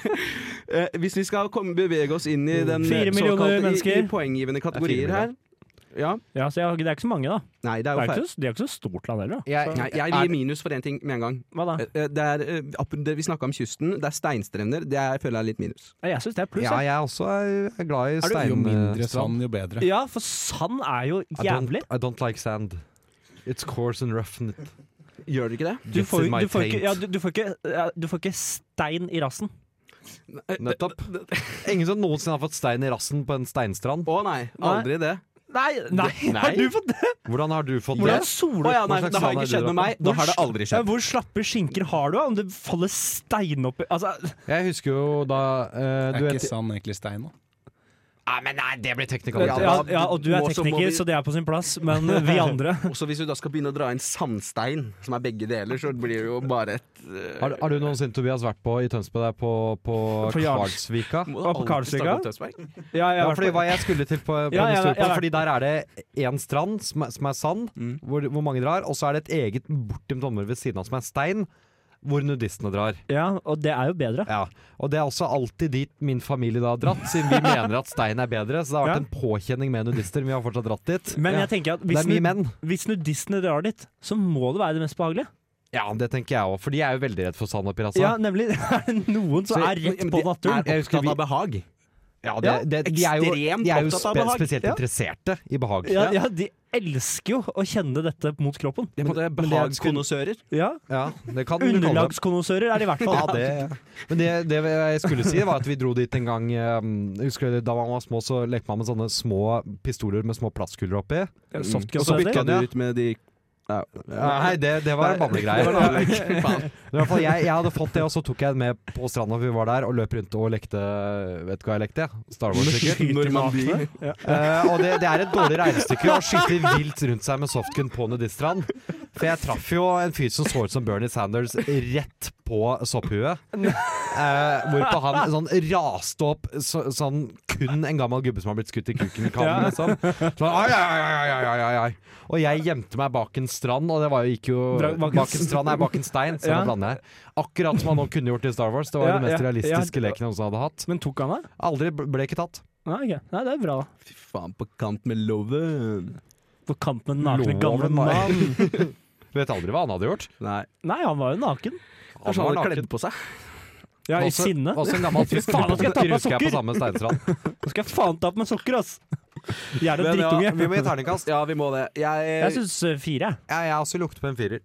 Speaker 6: eh, hvis vi skal komme, bevege oss inn i den
Speaker 5: Fire millioner
Speaker 6: såkalte i-
Speaker 5: mennesker.
Speaker 6: i poenggivende kategorier her Ja,
Speaker 5: ja, så jeg, har ikke- det er ikke så mange, da.
Speaker 6: Nei, det
Speaker 5: Det
Speaker 6: er jo
Speaker 5: er
Speaker 6: feil.
Speaker 5: ikke så, det er ikke så stort land heller. da.
Speaker 7: Jeg,
Speaker 6: Nei, jeg
Speaker 7: Er-
Speaker 6: gir minus for én ting med en gang.
Speaker 5: Hva da?
Speaker 6: Eh, eh, Det er, eh, ap- det, vi snakka om kysten. Det er steinstrender. Det er, jeg føler jeg er litt minus.
Speaker 5: Nei, Jeg syns det er pluss.
Speaker 7: ja,
Speaker 5: jeg.
Speaker 7: jeg også er er glad i
Speaker 6: du-
Speaker 7: stein... eh,
Speaker 8: Jo mindre
Speaker 7: strand.
Speaker 8: sand, jo bedre.
Speaker 5: Ja, for sand er jo
Speaker 7: I don't,
Speaker 5: jævlig.
Speaker 7: I don't like sand. It's coarse and rough and it
Speaker 6: Gjør det ikke det?
Speaker 5: Du
Speaker 7: gets
Speaker 5: får,
Speaker 7: in my
Speaker 5: du, får ikke,
Speaker 7: taint.
Speaker 5: ja, du, du, får ikke, ja, du får ikke stein i rassen.
Speaker 7: Nettopp. Ingen som noensinne har fått stein i rassen på en steinstrand.
Speaker 6: Å nei, aldri det.
Speaker 5: Nei, nei, har du fått det?
Speaker 7: Hvordan har du fått det?
Speaker 5: Hvordan soler
Speaker 6: Å ja, nei,
Speaker 7: Hva slags
Speaker 6: det har
Speaker 7: sand
Speaker 6: ikke
Speaker 7: er
Speaker 6: skjedd
Speaker 7: du
Speaker 6: med
Speaker 7: da på?
Speaker 6: meg. Da har det aldri
Speaker 5: ja,
Speaker 6: skjedd.
Speaker 5: Hvor slappe skinker har du? da? Om det faller stein oppi altså,
Speaker 7: Jeg husker jo da eh,
Speaker 8: Er
Speaker 7: du
Speaker 8: ikke
Speaker 7: vet,
Speaker 8: sand egentlig stein, da?
Speaker 7: Nei, men nei, det blir teknikalitet.
Speaker 6: Ja,
Speaker 5: ja,
Speaker 6: da-
Speaker 5: ja, Og du er
Speaker 6: må- så må
Speaker 5: tekniker,
Speaker 6: vi-
Speaker 5: så det er på sin plass, men vi andre
Speaker 6: Også hvis du da skal begynne å dra inn sandstein, som er begge deler, så blir det jo bare et eh,
Speaker 7: Har, har du noensinne, Tobias, vært på i Tønsberg der på, på,
Speaker 5: På Jarls-
Speaker 7: Karlsvika?
Speaker 6: Må
Speaker 5: Hva, på
Speaker 6: alltid
Speaker 5: Karlsvika?
Speaker 6: snakke om Tønsberg.
Speaker 5: Ja, jeg
Speaker 7: Ja,
Speaker 5: har vært
Speaker 7: fordi
Speaker 5: på-
Speaker 7: hva jeg skulle til på, på
Speaker 5: Ja, Mm.
Speaker 7: en
Speaker 5: jeg-
Speaker 7: historie på,
Speaker 5: jeg vet.
Speaker 7: Fordi der er det én strand som er, som er sand, hvor, hvor mange drar, og så er det et eget bortgjemt område ved siden av som er stein, hvor nudistene drar.
Speaker 5: ja, og det er jo bedre.
Speaker 7: Ja. Og det er også alltid dit min familie da har dratt, siden vi mener at stein er bedre. Så det har vært
Speaker 5: Ja.
Speaker 7: en påkjenning med nudister, men vi har fortsatt dratt dit.
Speaker 5: Men
Speaker 7: ja.
Speaker 5: jeg tenker at
Speaker 7: det
Speaker 5: hvis,
Speaker 7: er mye
Speaker 5: nu-
Speaker 7: menn.
Speaker 5: hvis nudistene drar dit, så må det være det mest behagelige.
Speaker 7: Ja, det tenker jeg òg, for de er jo veldig redd for sand og pirasa.
Speaker 5: Ja, nemlig. Er det noen som
Speaker 6: Så-
Speaker 5: er rett
Speaker 6: men
Speaker 5: på
Speaker 6: de
Speaker 5: naturen?
Speaker 6: Er opptatt
Speaker 7: vi-
Speaker 6: av behag.
Speaker 7: Ja, det,
Speaker 5: Ja,
Speaker 7: det, de er jo,
Speaker 6: ekstremt
Speaker 7: de er jo
Speaker 6: opptatt av
Speaker 7: spe
Speaker 6: behag.
Speaker 7: spesielt
Speaker 6: Ja.
Speaker 7: interesserte i behag.
Speaker 5: Ja, ja, de elsker jo å kjenne dette mot kroppen.
Speaker 6: De er på
Speaker 7: men det
Speaker 6: en måte
Speaker 7: er kun-
Speaker 6: behagskonnoissører.
Speaker 5: Ja,
Speaker 7: Ja, det kan du kalle det.
Speaker 5: Underlagskonnoissører er de i hvert
Speaker 7: Ja,
Speaker 5: fall.
Speaker 7: det, men det, det jeg skulle si, var at vi dro dit en gang eh, jeg husker Da man var små, så lekte man med sånne små pistoler med små plastkuler oppi.
Speaker 5: Softgun
Speaker 6: Og så
Speaker 5: som det
Speaker 6: bytta
Speaker 5: heter.
Speaker 6: du ut med de ja.
Speaker 7: Nei, det, det var
Speaker 6: Det
Speaker 7: bablegreier.
Speaker 6: var en annen lek.
Speaker 7: Men i hvert fall, jeg, jeg hadde fått det, og så tok jeg den med på stranda vi var der, og løp rundt og lekte Vet du hva jeg lekte? Star Wars, sikkert.
Speaker 5: Skyter i
Speaker 6: Normandie.
Speaker 5: makene. Ja.
Speaker 7: Eh, og det, det er et dårlig regnestykke å skyte vilt rundt seg med softgun på nudiststrand. For jeg traff jo en fyr som så ut som Bernie Sanders rett på sopphuet. Eh, hvorpå han sånn raste opp så, sånn kun en gammel gubbe som har blitt skutt i kuken, kan
Speaker 5: Ja.
Speaker 7: liksom. Sånn, ai, ai, ai, ai, ai, ai, ai. Og jeg gjemte meg bak en strand, og det var jo, gikk jo
Speaker 5: Dra- bak en-
Speaker 7: Bak en strand er bak en stein, så
Speaker 5: Ja.
Speaker 7: jeg blander her. Akkurat som han nå kunne gjort i Star Wars. Det var
Speaker 5: Ja,
Speaker 7: den mest
Speaker 5: ja, ja.
Speaker 7: realistiske leken jeg også hadde hatt.
Speaker 5: Men tok han det?
Speaker 7: Aldri ble ble ikke tatt.
Speaker 5: Nei, ok. Nei, det er bra.
Speaker 6: Fy faen, på kant med loven.
Speaker 5: På kant med den nakne gamle
Speaker 7: Loven, nei.
Speaker 5: mann.
Speaker 7: Vet aldri hva han hadde gjort.
Speaker 6: Nei.
Speaker 5: Nei, han var jo naken. sånn
Speaker 6: Kanskje han
Speaker 7: var
Speaker 6: hadde
Speaker 7: naken.
Speaker 6: kledd på seg?
Speaker 5: Ja, i
Speaker 7: Også-
Speaker 5: sinne.
Speaker 7: Også en gammel tysk
Speaker 5: Faen, nå skal jeg ta på meg
Speaker 7: rusker jeg på
Speaker 5: sokker!
Speaker 7: samme steinstrand.
Speaker 5: Nå skal jeg faen ta på meg sokker, ass! Jeg er en
Speaker 6: Men ja,
Speaker 7: Vi må
Speaker 5: drittunge.
Speaker 7: gi terningkast.
Speaker 6: Ja, vi må det.
Speaker 5: Jeg
Speaker 6: Jeg,
Speaker 5: syns fire, jeg.
Speaker 7: Ja, jeg har også lukter på en firer.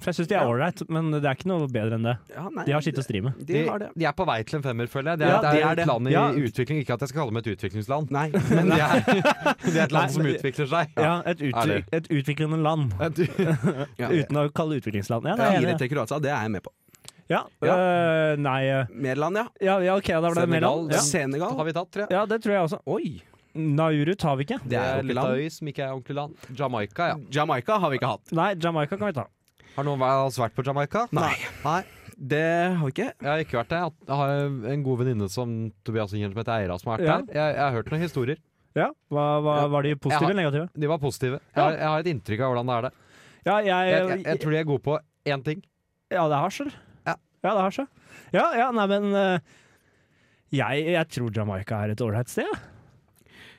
Speaker 5: For jeg syns de er
Speaker 6: Ja.
Speaker 5: ålreit, men det er ikke noe bedre enn det.
Speaker 6: ja, nei,
Speaker 5: De har sitt å stri med.
Speaker 6: De har det.
Speaker 7: de er på vei til en femmer, føler jeg. Det er,
Speaker 6: Ja,
Speaker 7: det er,
Speaker 6: de er
Speaker 7: et
Speaker 6: det.
Speaker 7: land i
Speaker 5: Ja.
Speaker 7: utvikling. Ikke at jeg skal kalle dem et utviklingsland,
Speaker 6: Nei.
Speaker 7: men det er, det er et land
Speaker 5: Nei,
Speaker 7: som
Speaker 5: men-
Speaker 7: utvikler seg.
Speaker 5: Ja, et, utvi
Speaker 7: Er
Speaker 5: et utviklende land.
Speaker 6: Ja.
Speaker 5: Uten å kalle det utviklingsland. Ja, det er jeg
Speaker 6: Fire
Speaker 5: enig i.
Speaker 6: til Kroatia, det er jeg med på.
Speaker 5: Ja,
Speaker 6: Ja.
Speaker 5: øh, nei øh,
Speaker 6: Nederland, ja.
Speaker 5: Ja, ja OK, da ble det
Speaker 7: Senegal,
Speaker 5: Mæland. Ja.
Speaker 7: Da
Speaker 6: Senegal.
Speaker 7: har vi tatt tre.
Speaker 5: ja, det tror jeg også.
Speaker 6: Oi!
Speaker 5: Nauru tar vi ikke.
Speaker 6: Det er jo
Speaker 7: litt
Speaker 6: ikke
Speaker 7: av
Speaker 6: land.
Speaker 7: øy som ikke er ordentlig land. Jamaica, ja.
Speaker 6: Jamaica har vi ikke hatt.
Speaker 5: Nei, Jamaica kan vi ta.
Speaker 7: Har noen av oss vært på Jamaica?
Speaker 6: Nei.
Speaker 7: Nei.
Speaker 6: Det har vi ikke.
Speaker 7: Jeg har ikke vært der. Jeg har en god venninne som Tobias Ingen, som heter Eira, som har vært
Speaker 5: Ja.
Speaker 7: der. Jeg, jeg har hørt noen historier.
Speaker 5: Ja, hva, hva,
Speaker 7: Ja.
Speaker 5: Var de
Speaker 7: Jeg har-
Speaker 5: positive eller negative?
Speaker 7: De var positive. Jeg
Speaker 5: Ja.
Speaker 7: har, jeg har et inntrykk av hvordan det er der.
Speaker 5: Ja, jeg,
Speaker 7: Jeg, jeg, jeg tror de er gode på én ting.
Speaker 5: Ja, det er hasj, eller?
Speaker 7: Ja.
Speaker 5: ja, det er hasj. ja. Ja, ja, nei, men eh, jeg, jeg tror Jamaica er et ålreit sted, ja.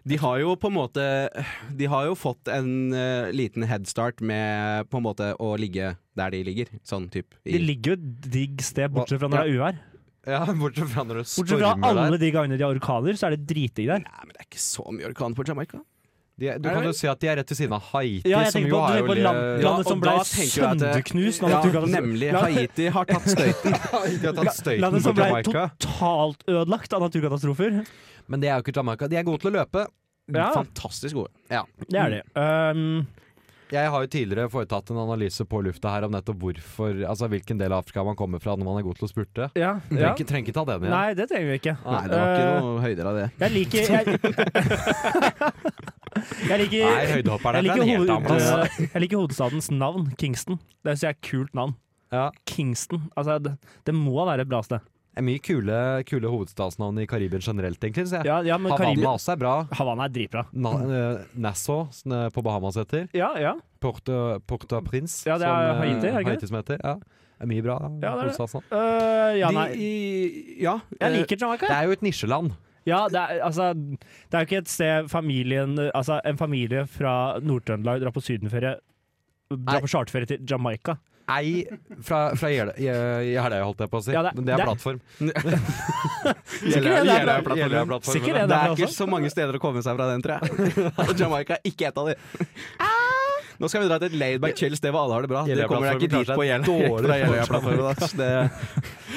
Speaker 6: De har jo på en måte De har jo fått en eh, liten headstart med på en måte å ligge der de ligger. Sånn type.
Speaker 5: De ligger jo et digg sted, bortsett fra når det er uvær.
Speaker 7: Ja, bortsett fra når det
Speaker 5: Bortsett fra
Speaker 7: stormer der.
Speaker 5: alle de gangene de har orkaner, så er det dritdigg der.
Speaker 6: Nei, men det er ikke så mye orkan på Jamaica.
Speaker 7: De, du kan jo se at de er rett ved siden av Haiti,
Speaker 5: Ja, jeg
Speaker 7: som
Speaker 5: tenker
Speaker 7: jo
Speaker 5: på,
Speaker 7: er
Speaker 5: du
Speaker 7: jo
Speaker 5: tenker på land,
Speaker 7: litt-
Speaker 6: Ja,
Speaker 5: landet som
Speaker 6: og
Speaker 5: ble
Speaker 6: da tenker jeg at det-
Speaker 5: sønderknust av
Speaker 6: Ja,
Speaker 5: naturkatastrofer.
Speaker 6: nemlig.
Speaker 5: La-
Speaker 6: Haiti har tatt støyten.
Speaker 7: De har tatt støyten
Speaker 5: Landet
Speaker 7: på
Speaker 5: som ble
Speaker 7: Jamaica.
Speaker 5: totalt ødelagt av naturkatastrofer.
Speaker 7: Men det er jo ikke Jamaica. De er gode til å løpe.
Speaker 5: Ja,
Speaker 6: Fantastisk gode.
Speaker 5: det er de. Um,
Speaker 7: Jeg har jo tidligere foretatt en analyse på lufta her om nettopp hvorfor Altså hvilken del av Afrika man kommer fra når man er god til å spurte.
Speaker 5: ja, ja.
Speaker 7: Trenger ikke- trenger ikke ta den igjen.
Speaker 5: Nei, det trenger vi ikke.
Speaker 6: Nei, det var
Speaker 5: Eh,
Speaker 6: ikke noe høyder av det.
Speaker 5: Jeg liker Jeg, jeg liker,
Speaker 7: Nei, høydehopperen
Speaker 5: jeg
Speaker 7: er
Speaker 5: liker,
Speaker 7: fra en helt annen
Speaker 5: hoved,
Speaker 7: plass.
Speaker 5: eh, jeg liker hovedstadens navn, Kingston. Det syns jeg er et kult navn.
Speaker 7: Ja.
Speaker 5: Kingston. Altså, det, det må være et bra sted.
Speaker 7: Det er mye kule, kule hovedstadsnavn i Karibien generelt, egentlig. synes jeg.
Speaker 5: Ja, ja, men Mm.
Speaker 7: Havanna
Speaker 5: Karibia
Speaker 7: også er bra.
Speaker 5: Havanna er dritbra.
Speaker 7: Na, eh, Nassau, som det på Bahamas heter.
Speaker 5: Ja, ja.
Speaker 7: Porta, Porta Prince,
Speaker 5: Ja, det er
Speaker 7: som, eh,
Speaker 5: Haiti, er det ikke det?
Speaker 7: Haiti som heter. Ja. Det er mye bra
Speaker 5: det er det.
Speaker 7: hovedstadsnavn.
Speaker 5: Øh, ja,
Speaker 6: De,
Speaker 5: nei.
Speaker 6: i, ja,
Speaker 5: Jeg
Speaker 6: eh,
Speaker 5: liker
Speaker 7: Det
Speaker 5: Jamaica.
Speaker 7: er jo et nisjeland.
Speaker 5: Ja, det er, altså, det er jo ikke et sted familien Altså, en familie fra Nord-Trøndelag drar på sydenferie Drar
Speaker 7: Nei.
Speaker 5: på charterferie til Jamaica.
Speaker 7: Ei fra, fra Jeløya, Jeløya, holdt jeg på å si.
Speaker 5: Ja, det-
Speaker 7: Men det er
Speaker 5: det-
Speaker 7: plattform.
Speaker 5: Sikkert det er
Speaker 6: Jeløya-
Speaker 5: bra.
Speaker 6: Jeløya-
Speaker 7: Jeløya-plattformen.
Speaker 5: Sikkert det er
Speaker 6: Det
Speaker 5: bra
Speaker 6: er ikke
Speaker 5: også.
Speaker 6: så mange steder å komme seg fra den, tror jeg. Og Jamaica er ikke et av de. Nå skal vi dra til et laidback chill sted hvor alle har det bra. Det kommer deg ikke dit på Jeløya.
Speaker 7: Dårlig
Speaker 6: fra Jeløya-plattformen, ass. Det-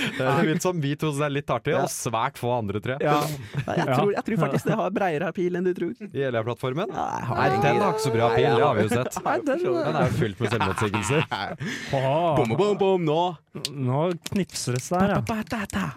Speaker 7: Det er litt som vi to som er litt artig, og svært få andre tre.
Speaker 6: Ja. Nei, Jeg, tror, jeg tror faktisk det har breiere pil enn du tror.
Speaker 7: Jeløya-plattformen.
Speaker 6: Nei, jeg har
Speaker 7: Nei,
Speaker 6: egentlig
Speaker 7: den
Speaker 6: det.
Speaker 7: har ikke så bra pil, det har vi jo sett.
Speaker 6: Nei, den,
Speaker 7: Den er jo fylt med selvmotsigelser.
Speaker 5: Åh,
Speaker 6: bom, bom, bom, nå.
Speaker 5: nå knipser det seg der, ja.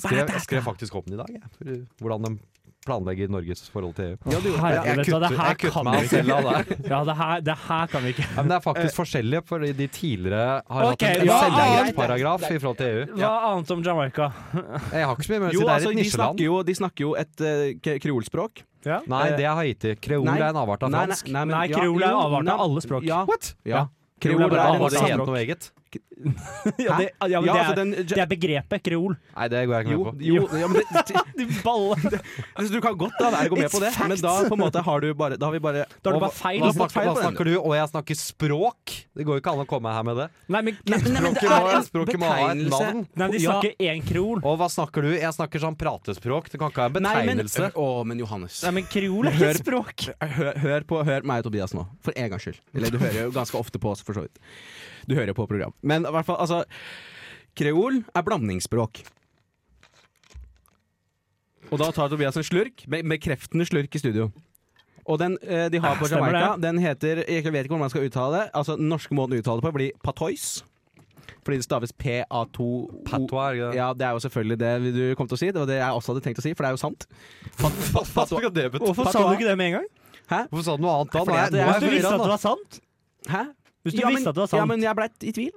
Speaker 7: Skrev, skrev faktisk opp den i dag, jeg. For hvordan de planlegger Norges forhold til E EU.
Speaker 5: Herregud, vet du hva, det her kan vi ikke.
Speaker 7: selv av det.
Speaker 5: Ja, det her, det her kan vi ikke.
Speaker 7: Ja, men det er faktisk forskjellig, fordi de tidligere har
Speaker 5: Ok,
Speaker 7: hatt en
Speaker 5: ja,
Speaker 7: selveiesparagraf i forhold til EU.
Speaker 5: Hva annet om Jamaica?
Speaker 7: Jeg har ikke så mye med å si,
Speaker 6: Jo,
Speaker 7: det er
Speaker 6: altså,
Speaker 7: et
Speaker 6: de snakker
Speaker 7: nisjeland.
Speaker 6: jo, de snakker jo et eh, k- kreolspråk.
Speaker 7: Nei, det er Haiti. Kreol
Speaker 6: Nei.
Speaker 7: er en avart av
Speaker 6: Nei,
Speaker 7: fransk.
Speaker 6: nei, men-
Speaker 5: Nei,
Speaker 6: ja,
Speaker 5: kreol er
Speaker 6: jo,
Speaker 5: avart av
Speaker 6: nei,
Speaker 5: alle språk.
Speaker 6: Ja.
Speaker 7: What?
Speaker 6: ja.
Speaker 5: Kreol er
Speaker 6: Kreol
Speaker 5: bare avart
Speaker 6: er en
Speaker 5: av
Speaker 7: Har det
Speaker 5: Sandrock.
Speaker 7: het
Speaker 6: sandrock.
Speaker 7: noe eget?
Speaker 5: Ja, det, ja, men det,
Speaker 6: Ja, altså
Speaker 5: er,
Speaker 6: den
Speaker 5: det er begrepet kreol.
Speaker 7: Nei, det går jeg ikke
Speaker 6: Jo,
Speaker 7: med på.
Speaker 6: jo, ja, men det,
Speaker 5: Du baller.
Speaker 6: Så Altså, Du kan godt da være gå med på det, men da på en måte har du bare Da har vi bare
Speaker 5: Da
Speaker 7: Og
Speaker 5: har du bare
Speaker 7: hva-
Speaker 5: feil.
Speaker 7: Hva
Speaker 6: Du har fått
Speaker 7: snakker,
Speaker 6: feil
Speaker 7: hva
Speaker 6: på den.
Speaker 7: snakker du? Og jeg snakker språk? Det går jo ikke an å komme her med det.
Speaker 5: Nei, men, nei,
Speaker 7: Språket må, språket må ha et
Speaker 6: betegnelse.
Speaker 7: navn.
Speaker 5: men de
Speaker 7: altså- Ja.
Speaker 5: snakker én krol.
Speaker 7: Og hva snakker du? Jeg snakker sånn pratespråk. Det kan ikke ha en
Speaker 6: Nei, men,
Speaker 7: betegnelse.
Speaker 6: å, men Johannes.
Speaker 5: Nei, men kreol er
Speaker 6: Hør-
Speaker 5: ikke språk.
Speaker 6: Eh, Hør, hør, på, hør meg og Tobias nå, for en gangs skyld. Eller du hører jo ganske ofte på oss, for så vidt. Du hører jo på program. Men i hvert fall, altså Kreol er blandingsspråk. Og da tar Tobias en slurk, be- bekreftende slurk i studio. Og den eh, de har på
Speaker 5: Stemmer
Speaker 6: Jamaica, den heter Jeg vet ikke hvordan man skal uttale det. Altså, Den norske måten å uttale det på blir patois. Fordi det staves P-A-2-O
Speaker 7: Patois, er det
Speaker 6: Ja, det er jo selvfølgelig det du kom til å si. Det var det jeg også hadde tenkt å si, for det er jo sant.
Speaker 7: ikke det betyr?
Speaker 5: Hvorfor sa du ikke det med en gang?
Speaker 7: Hvorfor sa du noe annet da?
Speaker 6: Fordi
Speaker 7: Nå
Speaker 6: at
Speaker 7: er,
Speaker 6: det
Speaker 7: nå er
Speaker 6: er
Speaker 5: Hvis du
Speaker 7: jeg forvirra,
Speaker 5: visste at det
Speaker 7: da.
Speaker 5: var sant,
Speaker 6: Hæ?
Speaker 5: Hvis du
Speaker 6: ja, men-
Speaker 5: visste at det var sant.
Speaker 6: Ja, men jeg blei i tvil.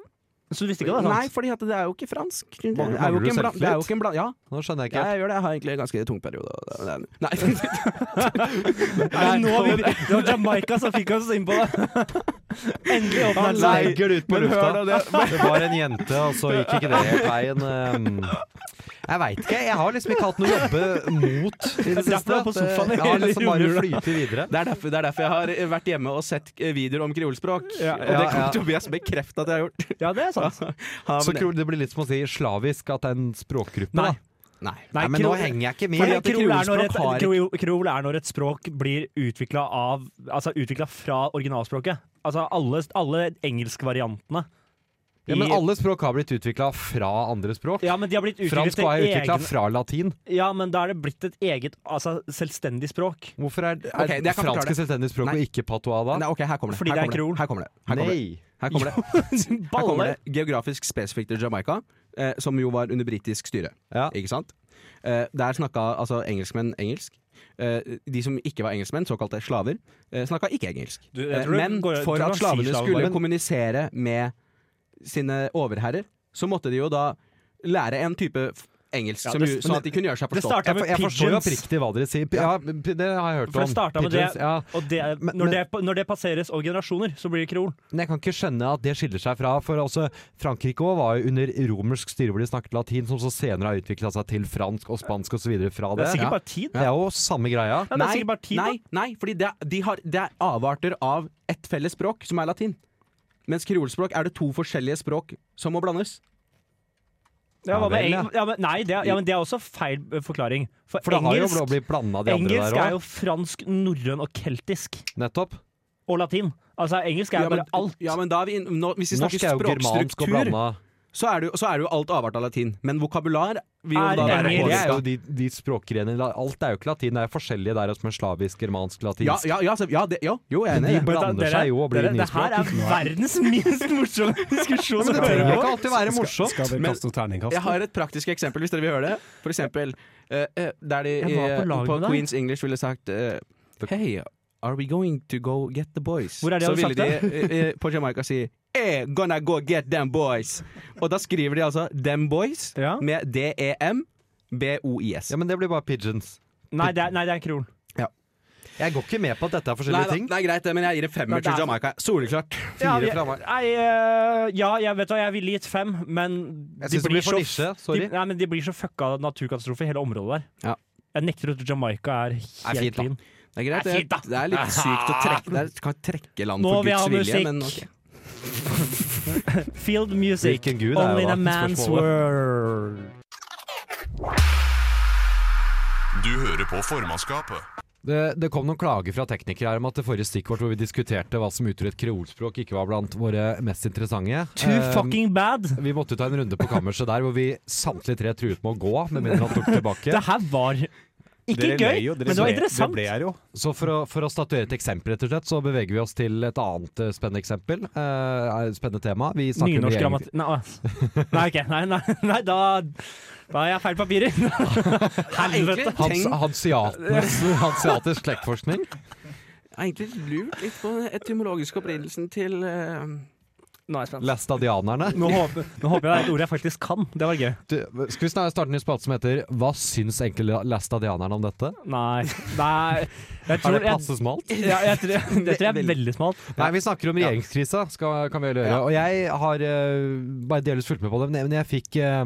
Speaker 5: så du visste ikke at det var
Speaker 6: Nei,
Speaker 5: sant.
Speaker 6: fordi at det er jo ikke fransk. Det er
Speaker 7: Mangler-
Speaker 6: jo
Speaker 7: mangler
Speaker 6: ikke en
Speaker 7: du
Speaker 6: bla- det er jo ikke en bla... Ja,
Speaker 7: Nå skjønner jeg
Speaker 6: ja,
Speaker 7: ikke.
Speaker 6: jeg gjør det. Jeg har egentlig en ganske tung periode. og det- det er- Nei.
Speaker 5: Nei, nå har vi, det var Jamaica som fikk oss innpå det. Endelig
Speaker 7: Han
Speaker 5: åpna det seg.
Speaker 7: legger det ut på lufta. Det var en jente, og så gikk ikke det helt veien. ehm. Jeg veit ikke. Jeg har liksom ikke hatt noe å jobbe mot i det
Speaker 5: er derfor du
Speaker 7: siste.
Speaker 5: er på sofaen i
Speaker 7: Jeg har
Speaker 5: hele
Speaker 7: liksom bare
Speaker 5: romjula.
Speaker 7: flyter videre.
Speaker 6: Det er, derfor, det er derfor jeg har vært hjemme og sett eh, videoer om kreolspråk. og
Speaker 7: ja,
Speaker 6: det kommer
Speaker 7: ja.
Speaker 6: Tobias bekrefte at jeg har gjort.
Speaker 5: Ja, det er sant.
Speaker 6: Han-
Speaker 7: Så tror du det blir litt som å si slavisk, at det er en språkgruppe,
Speaker 5: Nei.
Speaker 7: da?
Speaker 6: Nei.
Speaker 5: Nei,
Speaker 7: men nå
Speaker 5: kreol-
Speaker 7: henger jeg ikke med.
Speaker 5: Fordi
Speaker 6: at
Speaker 5: Krol er, når et,
Speaker 6: kreolspråk har-
Speaker 5: kreol, kreol er når et språk blir utvikla av Altså utvikla fra originalspråket. Altså alle, alle engelskvariantene.
Speaker 7: Ja, men
Speaker 5: i-
Speaker 7: alle språk har blitt utvikla fra andre språk.
Speaker 5: ja, men de har blitt utviklet
Speaker 7: Fransk
Speaker 5: til
Speaker 7: var utvikla
Speaker 5: egne
Speaker 7: fra latin.
Speaker 5: Ja, men da er det blitt et eget, altså selvstendig språk.
Speaker 7: Hvorfor er, er
Speaker 6: Ok, det kan forklare
Speaker 7: fransk
Speaker 6: det.
Speaker 7: et selvstendig språk
Speaker 6: Nei.
Speaker 7: og ikke patois da?
Speaker 6: Nei, ok, her kommer det.
Speaker 5: Fordi
Speaker 6: her
Speaker 5: det er
Speaker 6: kommer
Speaker 5: kreol.
Speaker 6: Her kommer det. Her kommer det. Her kommer det. Her kommer
Speaker 5: Baller!
Speaker 6: det. Geografisk spesifikt til Jamaica, eh, som jo var under britisk styre.
Speaker 7: Ja.
Speaker 6: Ikke sant? Eh, der snakka altså engelskmenn engelsk. Eh, de som ikke var engelskmenn, såkalte slaver, eh, snakka ikke engelsk.
Speaker 5: Du, jeg
Speaker 6: Eh,
Speaker 5: tror det
Speaker 6: Men
Speaker 5: går-
Speaker 6: for
Speaker 5: du kan
Speaker 6: at
Speaker 5: si
Speaker 6: slavene
Speaker 5: slaver
Speaker 6: skulle
Speaker 5: bare, men-
Speaker 6: kommunisere med sine overherrer, så måtte de jo da lære en type f- engelsk
Speaker 5: Ja,
Speaker 6: som
Speaker 5: det-
Speaker 6: jo-
Speaker 5: men
Speaker 6: sånn
Speaker 5: det-
Speaker 6: at de kunne gjøre seg
Speaker 5: det
Speaker 6: forstått.
Speaker 5: starta
Speaker 7: Jeg, for,
Speaker 5: med
Speaker 7: jeg forstår jo
Speaker 5: pigeons,
Speaker 7: oppriktig hva dere sier. Ja, p- det har jeg hørt
Speaker 5: For det
Speaker 7: om.
Speaker 5: starta med
Speaker 7: Pigeons,
Speaker 5: det-
Speaker 7: Ja.
Speaker 5: og det, er-
Speaker 7: Men-
Speaker 5: når, det, når det passeres over generasjoner, så blir det kreol.
Speaker 7: Men jeg kan ikke skjønne at det skiller seg fra For også Frankrike også var jo under romersk styre hvor de snakket latin, som så senere har utvikla seg til fransk og spansk osv. fra
Speaker 5: Det
Speaker 7: det.
Speaker 5: er
Speaker 7: Ja.
Speaker 5: sikkert bare tid.
Speaker 7: Det er jo samme greia.
Speaker 5: Ja, det er sikkert bare tid da.
Speaker 6: nei, nei, fordi det, er- de har, det er avarter av ett felles språk, som er latin. Mens kreolspråk er det to forskjellige språk som må blandes.
Speaker 5: Ja,
Speaker 7: Ja,
Speaker 5: hva med
Speaker 7: vel, ja.
Speaker 5: eng- ja, men, nei, det er, ja, men det er også feil eh, forklaring. For,
Speaker 7: For det har jo
Speaker 5: engelsk,
Speaker 7: blitt blanda, de andre
Speaker 5: engelsk er
Speaker 7: der
Speaker 5: jo
Speaker 7: òg.
Speaker 5: fransk, norrøn og keltisk.
Speaker 7: Nettopp.
Speaker 5: Og latin. Altså, engelsk er
Speaker 6: Ja, men-
Speaker 5: bare alt.
Speaker 6: Ja, men da er vi inn, nå, hvis vi
Speaker 7: Norsk
Speaker 6: snakker
Speaker 7: er jo germansk og
Speaker 6: språkstruktur,
Speaker 7: blanda.
Speaker 6: så er, det, jo- så er det jo alt avart av latin. Men vokabular vil
Speaker 5: Er
Speaker 6: jo da være
Speaker 5: engelsk.
Speaker 7: Det er jo
Speaker 6: påvirka.
Speaker 7: de, de språkgrenene la- Alt er jo ikke latin. Det er forskjellige der som er slavisk, germansk,
Speaker 6: Ja,
Speaker 7: latinsk.
Speaker 6: ja, ja, så, ja, det, ja, jo, jeg er enig. i det.
Speaker 7: Men blander seg jo og blir
Speaker 5: det her er verdens minst morsomme diskusjon
Speaker 7: Men
Speaker 5: å
Speaker 7: det trenger
Speaker 5: høre
Speaker 7: jo
Speaker 5: på.
Speaker 7: ikke alltid være morsomt.
Speaker 8: Skal vi kaste noe terningkast?
Speaker 6: Jeg har et praktisk eksempel, hvis dere vil høre det. For eksempel eh, eh, der de
Speaker 5: Jeg var
Speaker 6: eh,
Speaker 5: på lag
Speaker 6: på
Speaker 5: med deg.
Speaker 6: Queens English ville sagt eh, Hey, are we going to go get the boys?
Speaker 5: Hvor er det
Speaker 6: så
Speaker 5: hadde
Speaker 6: ville
Speaker 5: sagt
Speaker 6: de eh, eh, på Jamaica si Eh, gonna go get them boys. Og da skriver de altså them boys
Speaker 5: Ja.
Speaker 6: med E D-E-M. B-O-I-S.
Speaker 7: Ja, men det blir bare pigeons.
Speaker 5: Nei, det er, nei, det er en krol.
Speaker 7: Jeg går ikke med på at dette er
Speaker 6: Nei,
Speaker 7: forskjellige
Speaker 6: da,
Speaker 7: ting.
Speaker 6: det er greit, det, men jeg gir en
Speaker 5: Nei,
Speaker 6: femmer
Speaker 5: det er-
Speaker 6: til Jamaica. Soleklart.
Speaker 5: Ja, vi-
Speaker 7: Fire fra meg.
Speaker 5: Nei, eh, ja, jeg vet hva, jeg ville gitt fem, men
Speaker 7: Jeg synes det blir for nisje. Sorry.
Speaker 5: De, nei, men de blir så fucka av naturkatastrofer, hele området der.
Speaker 6: Ja.
Speaker 5: Jeg nekter at Jamaica
Speaker 7: Er
Speaker 5: er helt
Speaker 7: fint, da.
Speaker 5: clean.
Speaker 6: Det er greit,
Speaker 5: Det er fint, da.
Speaker 6: det er litt sykt å trekke, det er, kan trekke land
Speaker 5: Nå
Speaker 6: for
Speaker 5: vil jeg
Speaker 6: Guds
Speaker 5: ha
Speaker 6: vilje,
Speaker 5: musikk.
Speaker 6: men ok.
Speaker 5: Field music,
Speaker 7: Hvilken gud er
Speaker 5: only
Speaker 7: jo
Speaker 5: in a
Speaker 7: da
Speaker 5: man's
Speaker 7: spørsmålet.
Speaker 5: world.
Speaker 1: Du hører på formannskapet.
Speaker 7: Det, det kom noen klager fra teknikere her om at det forrige stikkord hvor vi diskuterte hva som utgjorde et kreolspråk, ikke var blant våre mest interessante.
Speaker 5: Too
Speaker 7: Eh,
Speaker 5: fucking bad!
Speaker 7: Vi måtte ta en runde på kammerset der hvor vi samtlige tre truet med å gå, med mindre han tok tilbake.
Speaker 5: Det her var ikke
Speaker 3: Dere
Speaker 5: gøy,
Speaker 3: ble jo- dere
Speaker 5: men det var
Speaker 3: ble-
Speaker 5: interessant.
Speaker 3: Dere ble her jo.
Speaker 7: Så for å, for å statuere et eksempel, rett og slett, så beveger vi oss til et annet eh, spennende eksempel. eh, spennende tema. Vi snakker om
Speaker 5: Nynorsk
Speaker 7: regjering-
Speaker 5: grammatikk Nei, å. nei, ok. Nei, nei, nei da, da har jeg feil papirer. Helvete.
Speaker 7: Hans, hanseatenes, hanseatisk slektforskning.
Speaker 6: Jeg har egentlig lurt litt på den etymologiske opprinnelsen til eh,
Speaker 5: Nå er jeg spent.
Speaker 7: Læstadianerne.
Speaker 5: Nå håper, nå håper jeg det er et ord jeg faktisk kan. Det var gøy.
Speaker 7: Du, Skal vi snart starte en ny spalte som heter 'Hva syns egentlig læstadianerne om dette?'
Speaker 5: Nei. nei. Jeg
Speaker 7: Er
Speaker 5: tror
Speaker 7: det
Speaker 5: jeg,
Speaker 7: passe smalt?
Speaker 5: ja, jeg, tror, det tror jeg er veldig smalt.
Speaker 7: Nei, vi snakker om regjeringskrisa, skal, kan vi vel gjøre. Og jeg har eh, bare delvis fulgt med på det, men jeg, men jeg fikk eh,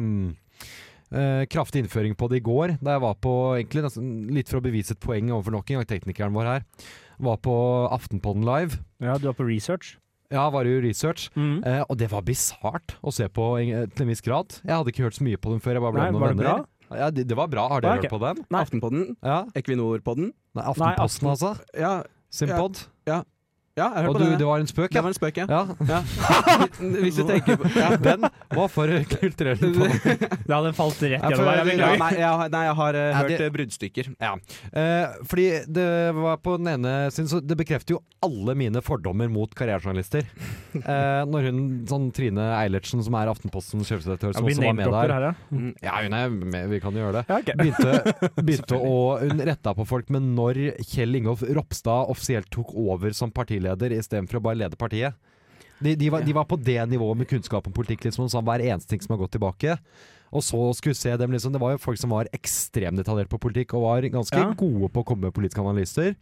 Speaker 7: eh, kraftig innføring på det i går, da jeg var på egentlig nesten litt for å bevise et poeng overfor nok en gang teknikeren vår her. Var på Aftenpodden live.
Speaker 5: Ja, du var på research.
Speaker 7: Ja, var jo research.
Speaker 5: Mm.
Speaker 7: Eh, og det var bisart å se på eh, til en viss grad. Jeg hadde ikke hørt så mye på dem før. Jeg bare ble
Speaker 5: Nei,
Speaker 7: noen
Speaker 5: var det
Speaker 7: venner. Ja, det, det var bra. Har dere
Speaker 5: Ja, ok.
Speaker 7: hørt på dem?
Speaker 5: Nei.
Speaker 6: Aftenpodden.
Speaker 7: Ja.
Speaker 6: Equinor-podden.
Speaker 7: Nei, Aftenposten,
Speaker 5: Aften-
Speaker 7: altså.
Speaker 6: Ja,
Speaker 7: Simpod.
Speaker 6: ja, jeg hørte
Speaker 7: og
Speaker 6: på
Speaker 7: du,
Speaker 6: den.
Speaker 7: det var en spøk,
Speaker 6: Det
Speaker 7: ja.
Speaker 6: var en spøk, ja.
Speaker 7: ja.
Speaker 6: Hvis du tenker på ja.
Speaker 7: Den var for kulturell på
Speaker 5: Det hadde falt rett
Speaker 7: Ja, for-
Speaker 5: gjennom her. Jeg
Speaker 6: Ja,
Speaker 5: beklager.
Speaker 6: nei, jeg, har- nei, jeg har eh,
Speaker 7: Ja,
Speaker 6: hørt
Speaker 7: det-
Speaker 6: eh, bruddstykker.
Speaker 7: Ja. Eh, fordi det var på den ene siden, så det bekrefter jo alle mine fordommer mot karrierejournalister. Eh, når hun, sånn Trine Eilertsen, som er Aftenpostens sjefredaktør,
Speaker 5: Ja,
Speaker 7: som
Speaker 5: vi
Speaker 7: også var med
Speaker 5: name-dropper
Speaker 7: der
Speaker 5: her, ja.
Speaker 6: Mm.
Speaker 7: Ja, hun er med, vi kan jo gjøre det.
Speaker 5: Ja, ok.
Speaker 7: Begynte, begynte å Hun retta på folk, men når Kjell Ingolf Ropstad offisielt tok over som partileder istedenfor å bare lede partiet de, de, var, de var på det nivået med kunnskap om politikk, liksom, som hver eneste ting som har gått tilbake. Og så skulle se dem liksom, Det var jo folk som var ekstremt detaljert på politikk, og var ganske
Speaker 5: Ja.
Speaker 7: gode på å komme med politiske analyser.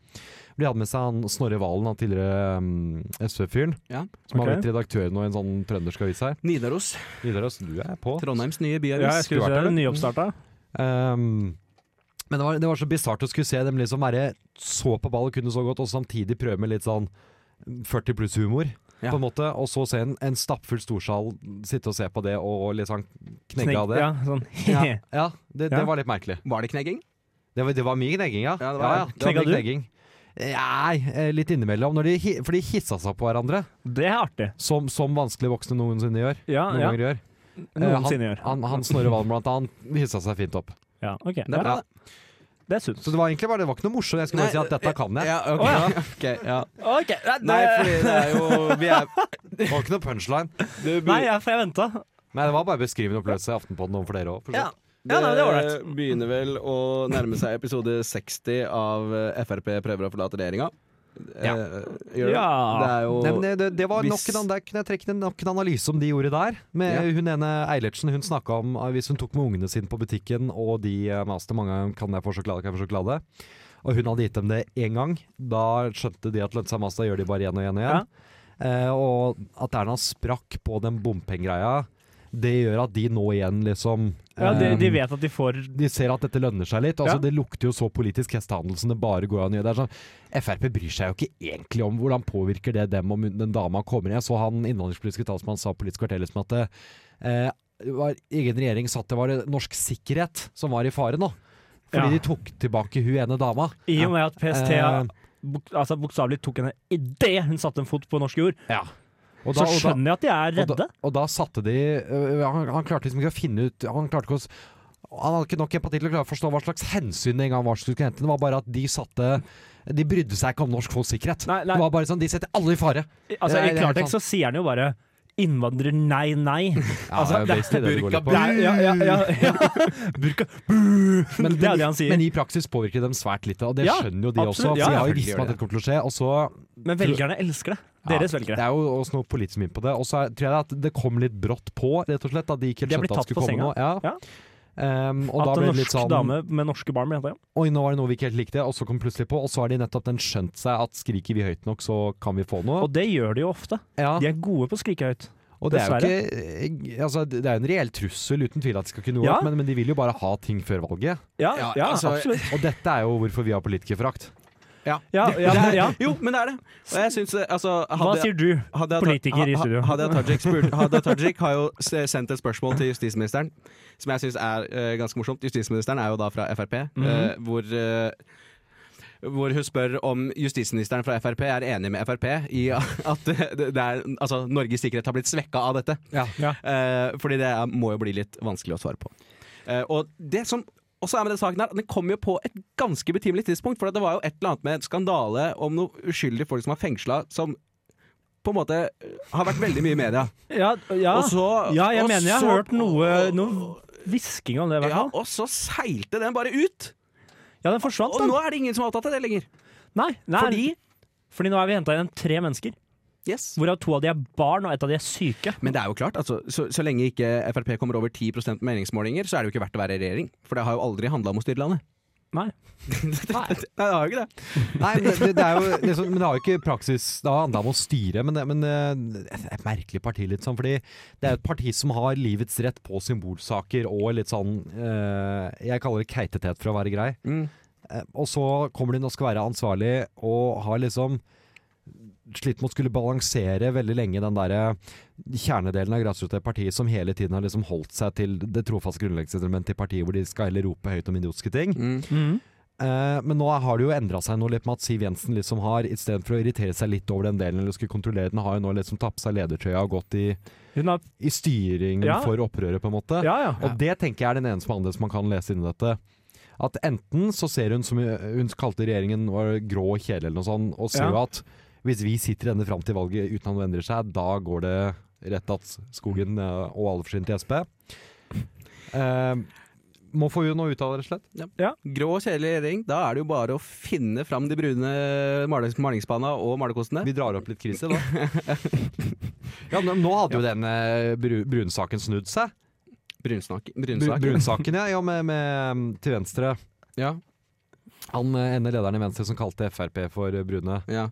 Speaker 7: De hadde med seg han Snorre Valen, han tidligere um, SV-fyren,
Speaker 6: Ja,
Speaker 7: som har
Speaker 5: ok.
Speaker 7: blitt redaktør nå i en sånn trøndersk avis her.
Speaker 6: Nidaros.
Speaker 7: Nidaros, du er på.
Speaker 6: Trondheims
Speaker 5: Ja,
Speaker 6: nye
Speaker 5: jeg
Speaker 6: byavis.
Speaker 5: skulle
Speaker 7: vært
Speaker 5: se
Speaker 7: der,
Speaker 5: det. Nyoppstarta.
Speaker 7: Ehm, men det var, det var så bisart å skulle se dem liksom være så på ball og kunne så godt, og samtidig prøve med litt sånn 40 pluss-humor.
Speaker 6: Ja.
Speaker 7: På en måte, Og så se en, en stappfull storsal sitte og se på det og liksom knegge
Speaker 5: Snegg-
Speaker 7: av det.
Speaker 5: Ja, sånn.
Speaker 7: Ja, ja, det, det
Speaker 5: Ja.
Speaker 7: var litt merkelig.
Speaker 6: Var det knegging?
Speaker 7: Det var, det var mye knegging, ja.
Speaker 6: Ja, det var-
Speaker 7: det var
Speaker 5: Knegga
Speaker 7: mye
Speaker 5: du?
Speaker 7: knegging. Nei, eh, litt innimellom. Når de, hi- for de hissa seg på hverandre,
Speaker 5: Det er artig.
Speaker 7: som, som vanskelig voksne noensinne gjør.
Speaker 5: Ja,
Speaker 7: Noen
Speaker 5: Ah, ja.
Speaker 7: ganger gjør. Eh,
Speaker 5: Noensinne gjør.
Speaker 7: Han, han, han Snorre Valen blant annet hissa seg fint opp.
Speaker 5: Ja, ok.
Speaker 6: Det er
Speaker 5: Ja,
Speaker 6: bra, det.
Speaker 5: det er sunt.
Speaker 7: Så det var egentlig bare, det var ikke noe morsomt. Jeg skulle bare
Speaker 6: Nei,
Speaker 7: si at
Speaker 5: eh,
Speaker 7: dette kan jeg.
Speaker 6: Ja, ok. Ok, ja.
Speaker 5: Ok,
Speaker 6: Nei, fordi det er jo Vi er
Speaker 7: Det var ikke noe punchline.
Speaker 6: det,
Speaker 5: Nei, jeg, for jeg venta.
Speaker 7: Nei, det var bare beskrivende opplevelse i Aftenpodden overfor dere òg.
Speaker 6: Ja.
Speaker 5: Ja, nei, det er ålreit.
Speaker 6: begynner vel å nærme seg episode 60 av eh, Frp prøver å forlate regjeringa.
Speaker 7: Ja.
Speaker 6: Eh, gjør det?
Speaker 5: Ja.
Speaker 6: Det er jo
Speaker 7: Nei, men det, det, det var
Speaker 6: Hvis-
Speaker 7: nok en, an- der kunne jeg trekke en, nok en analyse som de gjorde der. Med
Speaker 6: Ja.
Speaker 7: Hun ene Eilertsen hun snakka om eh, hvis hun tok med ungene sine på butikken, og de eh, maste mange ganger, kan jeg få sjokolade, kan jeg få sjokolade. Og hun hadde gitt dem det én gang. Da skjønte de at lønte seg mast, da gjør de bare igjen og igjen og igjen. Eh, og at Erna sprakk på den bompengegreia, det gjør at de nå igjen liksom
Speaker 5: Ja, de, de
Speaker 7: eh,
Speaker 5: vet at de får
Speaker 7: de ser at dette lønner seg litt. Altså,
Speaker 5: Ja.
Speaker 7: Det lukter jo så politisk hestehandel som det bare går an å gjøre. Det er sånn, Frp bryr seg jo ikke egentlig om hvordan påvirker det dem om den dama kommer inn. Jeg så han innvandringspolitiske talsmann sa på Politisk kvarter liksom at det, eh, var, egen regjering satt det var norsk sikkerhet som var i fare nå. Fordi
Speaker 5: Ja.
Speaker 7: de tok tilbake hun ene dama.
Speaker 5: I og med at PST
Speaker 7: Eh.
Speaker 5: bok, altså, bokstavelig tok henne idet hun satte en fot på norsk jord,
Speaker 7: Ja. Og
Speaker 5: så
Speaker 7: da- og da-
Speaker 5: skjønner jeg at de er
Speaker 7: Og da,
Speaker 5: redde.
Speaker 7: og da satte de øh, han, han klarte liksom ikke å finne ut Han klarte ikke å s- han hadde ikke nok empati til å klare å forstå hva slags hensyn det en gang var. som skulle hente. Det var bare at de satte De brydde seg ikke om norsk folks sikkerhet.
Speaker 5: Nei, nei.
Speaker 7: Det var bare sånn, De setter alle i fare.
Speaker 5: Altså,
Speaker 7: Nei,
Speaker 5: I
Speaker 7: det er
Speaker 5: klartekst så
Speaker 7: sant.
Speaker 5: sier han jo bare 'innvandrer, nei, nei'. Altså, det-
Speaker 7: basically det det går litt på.
Speaker 5: Det er, ja, ja, ja, ja. Burka bu.
Speaker 7: Men,
Speaker 5: Det er
Speaker 7: men,
Speaker 5: det han
Speaker 7: i-
Speaker 5: sier.
Speaker 7: men i praksis påvirker dem svært lite, og det
Speaker 5: Ja,
Speaker 7: skjønner jo de
Speaker 5: absolutt.
Speaker 7: også. For
Speaker 5: Ja,
Speaker 7: de har
Speaker 5: ja,
Speaker 7: jo visst
Speaker 6: selvfølgelig
Speaker 7: at det kom til å skje. Og så
Speaker 5: Men velgerne elsker det. Deres velgere.
Speaker 7: Det er jo også noe politisk mye på det. Og så er- tror jeg at det kom litt brått på, rett og slett. At de ikke
Speaker 5: De har
Speaker 7: helt skjønte
Speaker 5: blitt
Speaker 7: at
Speaker 5: tatt
Speaker 7: det skulle
Speaker 5: på
Speaker 7: komme noe. Ja.
Speaker 5: Ja.
Speaker 7: Ehm, og da
Speaker 5: At
Speaker 7: ble
Speaker 5: en
Speaker 7: det litt
Speaker 5: norsk
Speaker 7: sånn
Speaker 5: dame med norske barn mente det.
Speaker 7: Oi, nå var det noe vi ikke helt likte, og så kom plutselig på. Og så har de nettopp den skjønt seg at skriker vi høyt nok, så kan vi få noe.
Speaker 5: Og det gjør de jo ofte.
Speaker 7: ja,
Speaker 5: De er gode på å skrike høyt.
Speaker 7: og det er jo ikke eh, altså, Det er jo en reell trussel, uten tvil at de skal kunne noe,
Speaker 5: Ja.
Speaker 7: men, men de vil jo bare ha ting før valget.
Speaker 5: Ja,
Speaker 6: Ja,
Speaker 5: ja
Speaker 6: altså-
Speaker 5: absolutt.
Speaker 7: Og dette er jo hvorfor vi har politikerforakt.
Speaker 5: Ja, ja,
Speaker 6: det er,
Speaker 5: ja.
Speaker 6: Jo, men det er det. Og jeg syns eh, altså,
Speaker 5: Hva
Speaker 6: hadde,
Speaker 5: sier du?
Speaker 6: hadde jeg-
Speaker 5: politiker i
Speaker 6: ha- ha-
Speaker 5: studio?
Speaker 6: Hadia Tajik, spurt, Hadia Tajik har jo se- sendt et spørsmål til justisministeren,
Speaker 5: Mhm.
Speaker 6: som jeg syns er eh, ganske morsomt. Justisministeren er jo da fra Frp, eh, hvor eh, hvor hun spør om justisministeren fra Frp er enig med Frp i at det det er, altså, Norges sikkerhet har blitt svekka av dette.
Speaker 5: Ja.
Speaker 6: Eh, fordi det er, må jo bli litt vanskelig å svare på. Eh, og det som også er med den saken her, den kom jo på et ganske betimelig tidspunkt. For det var jo et eller annet med en skandale om noen uskyldige folk som var fengsla, som på en måte har vært veldig mye i media.
Speaker 5: Ja, ja.
Speaker 6: Og så,
Speaker 5: Ah. ja jeg
Speaker 6: og
Speaker 5: mener jeg har
Speaker 6: så-
Speaker 5: hørt noe, noe hvisking om det. i hvert
Speaker 6: Ja,
Speaker 5: fall.
Speaker 6: og så seilte den bare ut!
Speaker 5: Ja, den forsvant,
Speaker 6: Og
Speaker 5: den.
Speaker 6: nå er det ingen som er opptatt av det lenger.
Speaker 5: Nei, nei,
Speaker 6: Fordi
Speaker 5: fordi nå er vi henta igjen tre mennesker,
Speaker 6: Yes.
Speaker 5: hvorav to av de er barn, og ett av de er syke.
Speaker 6: Men det er jo klart, altså, så, så lenge ikke Frp kommer over 10 på meningsmålinger, så er det jo ikke verdt å være i regjering. For det har jo aldri handla om å styre landet.
Speaker 5: Nei.
Speaker 6: Nei, det har jo ikke det.
Speaker 7: Nei, men det, det er jo det som, Men det har jo ikke praksis Det har handla om å styre, men, det, men eh, det er et merkelig parti, litt sånn. Fordi det er jo et parti som har livets rett på symbolsaker og litt sånn eh, Jeg kaller det keitetet for å være grei.
Speaker 6: Mm.
Speaker 7: Eh, og så kommer de inn og skal være ansvarlig, og har liksom slitt med å skulle balansere veldig lenge den derre kjernedelen av grasrotpartiet som hele tiden har liksom holdt seg til det trofaste grunnleggingselementet i partiet, hvor de skal heller rope høyt om idiotiske ting.
Speaker 5: Mm.
Speaker 7: Eh, men nå har det jo endra seg noe litt med at Siv Jensen liksom har, istedenfor å irritere seg litt over den delen, eller skulle kontrollere den, har jo nå liksom tatt på seg ledertrøya og gått i,
Speaker 5: Hun har
Speaker 7: i styring
Speaker 5: Ja.
Speaker 7: for opprøret, på en måte.
Speaker 5: Ja, ja.
Speaker 7: Og det tenker jeg er den eneste annerledes man kan lese inn i dette. At enten så ser hun, som hun kalte regjeringen var det grå og kjedelig eller noe sånt, og ser
Speaker 5: Ja.
Speaker 7: jo at hvis vi sitter ende fram til valget uten at noe endrer seg, da går det rett at skogen eh, og alle forsvinner til SP. Eh, må få hun noe ut av det, rett og slett.
Speaker 6: Grå og kjedelig regjering, da er det jo bare å finne fram de brune malings malingsspanna og malekostene.
Speaker 7: Vi drar opp litt krise, da. ja, men nå hadde jo den eh, bru- brunsaken snudd seg.
Speaker 6: Brunsnak.
Speaker 7: Bru-
Speaker 6: Brunsak.
Speaker 7: Brunsaken, ja. ja med, med, um, til venstre.
Speaker 6: Ja.
Speaker 7: Han eh, ene lederen i Venstre som kalte Frp for eh, Brune.
Speaker 6: Ja.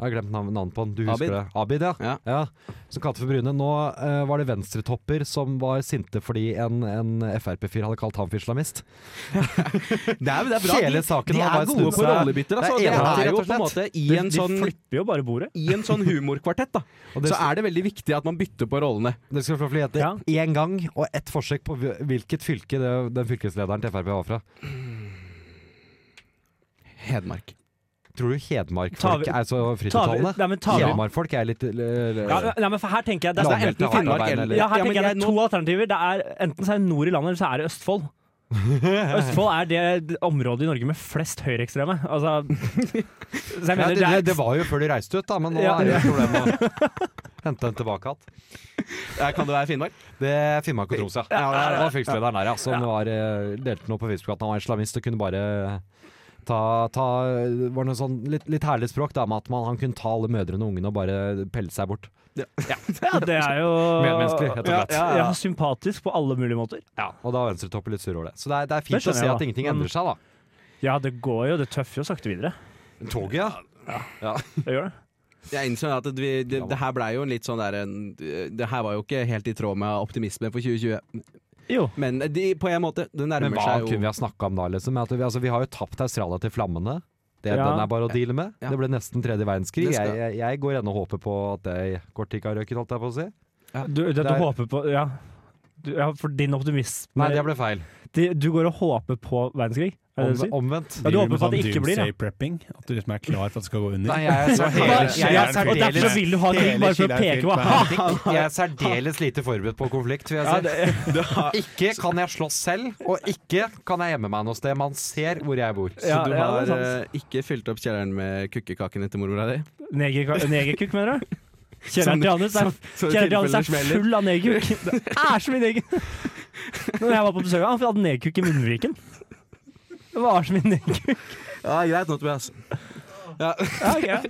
Speaker 7: Jeg har glemt navn- navnet på han. Du husker
Speaker 6: Abid.
Speaker 7: det? Abid, ja.
Speaker 6: Ja.
Speaker 7: Som kalte for Brune. Nå eh, var det venstretopper som var sinte fordi en, en Frp-fyr hadde kalt ham for islamist.
Speaker 6: Det er, det er bra.
Speaker 7: Hele
Speaker 6: de,
Speaker 7: saken
Speaker 6: de
Speaker 7: har
Speaker 6: er
Speaker 7: bare
Speaker 6: gode
Speaker 7: snudd
Speaker 6: på
Speaker 7: seg.
Speaker 6: rollebytter. Altså.
Speaker 7: Det
Speaker 6: Det
Speaker 7: er
Speaker 6: er,
Speaker 7: enighet,
Speaker 6: jo
Speaker 7: rett og
Speaker 6: på en måte i
Speaker 5: De,
Speaker 6: en
Speaker 5: de
Speaker 6: sånn,
Speaker 5: flipper jo bare bordet.
Speaker 6: i en sånn humorkvartett, da.
Speaker 7: Og det,
Speaker 6: Så er det veldig viktig at man bytter på rollene.
Speaker 7: det skal få bli etter
Speaker 5: Ja.
Speaker 7: én gang og ett forsøk på hvil- hvilket fylke det, den fylkeslederen til Frp var fra.
Speaker 6: Hedmark.
Speaker 7: Tror du
Speaker 5: Tar vi-
Speaker 7: hedmarkfolk er så
Speaker 5: Tar vi,
Speaker 7: frittalende?
Speaker 5: nei, men tar vi,
Speaker 7: Hedmarkfolk er litt eller-
Speaker 5: ja, nei, men for her tenker jeg det
Speaker 6: Det
Speaker 5: er,
Speaker 6: er enten Finnmark eller
Speaker 5: Ja, her
Speaker 6: men
Speaker 5: tenker jeg
Speaker 6: jeg-
Speaker 5: det er
Speaker 6: nå-
Speaker 5: to alternativer. Det er Enten så er det nord i landet, eller så er det Østfold. Østfold er det området i Norge med flest høyreekstreme. Altså, så jeg
Speaker 7: Ja,
Speaker 5: mener
Speaker 7: det,
Speaker 5: det
Speaker 7: det,
Speaker 5: er
Speaker 7: det var jo før de reiste ut, da, men nå
Speaker 5: Ja.
Speaker 7: er det et problem å hente dem tilbake igjen.
Speaker 6: Ja, Kan det være Finnmark?
Speaker 7: Det er Finnmark og Troms, ja. det var fylkeslederen der, ja. Som var, eh, delte noe på Facebook at han var islamist og kunne bare ta, ta det Var noe sånn litt, litt herlig språk, da, med at man, han kunne ta alle mødrene og ungene og bare pelle seg bort.
Speaker 5: Ja, det er jo
Speaker 7: Medmenneskelig, rett og slett.
Speaker 5: Ja, ja, ja. sympatisk på alle mulige måter.
Speaker 7: Og da var venstretoppen litt sur over det. Så det er, det er
Speaker 5: Det
Speaker 7: fint
Speaker 5: skjønner
Speaker 7: å se
Speaker 5: jeg,
Speaker 7: at
Speaker 5: da. Mm.
Speaker 7: ingenting
Speaker 5: Men-
Speaker 7: endrer seg, da.
Speaker 5: Ja, det går jo. Det tøffer jo sakte videre.
Speaker 7: Toget, ja.
Speaker 5: Det gjør det.
Speaker 6: Jeg innser at det, det, det her blei jo en litt sånn der en- Det her var jo ikke helt i tråd med optimismen for 2020.
Speaker 5: Jo.
Speaker 6: Men de, på en måte, det nærmer
Speaker 7: Men hva
Speaker 6: seg jo
Speaker 7: kunne vi ha snakka om da, liksom? At vi, altså, vi har jo tapt Australia til flammene. Det,
Speaker 5: Ja.
Speaker 7: Den er bare å deale med.
Speaker 6: Ja.
Speaker 7: Det ble nesten tredje verdenskrig.
Speaker 6: Det skal-
Speaker 7: Jeg, jeg, jeg går ennå og håper på at det kort ikke har røket, holdt jeg på å si.
Speaker 5: Du, det, du
Speaker 7: er-
Speaker 5: håper på Ja. Du, ja, for din optimisme
Speaker 7: Nei, det ble feil.
Speaker 5: De- Du går og håper på verdenskrig? Er det det du
Speaker 7: Om,
Speaker 5: sier?
Speaker 7: omvendt.
Speaker 5: Ja, du håper på at det ikke blir, ja.
Speaker 3: Doomsday prepping. sånn At du liksom er klar for at det skal gå under.
Speaker 7: Nei, jeg er så
Speaker 3: hele-
Speaker 5: Ja,
Speaker 7: særdeles, jeg
Speaker 5: ja,
Speaker 7: er
Speaker 5: og derfor så
Speaker 7: særdeles,
Speaker 5: vil du ha krig,
Speaker 3: hele
Speaker 5: bare for å
Speaker 3: kilden er
Speaker 5: peke på
Speaker 3: fylt med
Speaker 5: ha!
Speaker 7: jeg er særdeles lite forberedt på konflikt, vil jeg si. Ikke kan jeg slåss selv, og ikke kan jeg gjemme meg noe sted. Man ser hvor jeg bor.
Speaker 6: Så
Speaker 5: Ja,
Speaker 6: du
Speaker 5: ja,
Speaker 6: har
Speaker 5: det er sant.
Speaker 6: eh, ikke fylt opp kjelleren med kukkekakene til mormora di?
Speaker 5: Negerka- Negerkukk, mener du? Kjelleren
Speaker 6: Som-
Speaker 5: til Hannes er,
Speaker 6: så i
Speaker 5: kjelleren til Hannes
Speaker 6: tilfelle det
Speaker 5: er
Speaker 6: smeller.
Speaker 5: full av negerkukk. Det er så mye negerkukk. Når jeg var på besøk, han hadde negerkukk i munnviken. Det var så mye negerkukk.
Speaker 6: Ja, greit nå, Tobias.
Speaker 5: Ja, ok.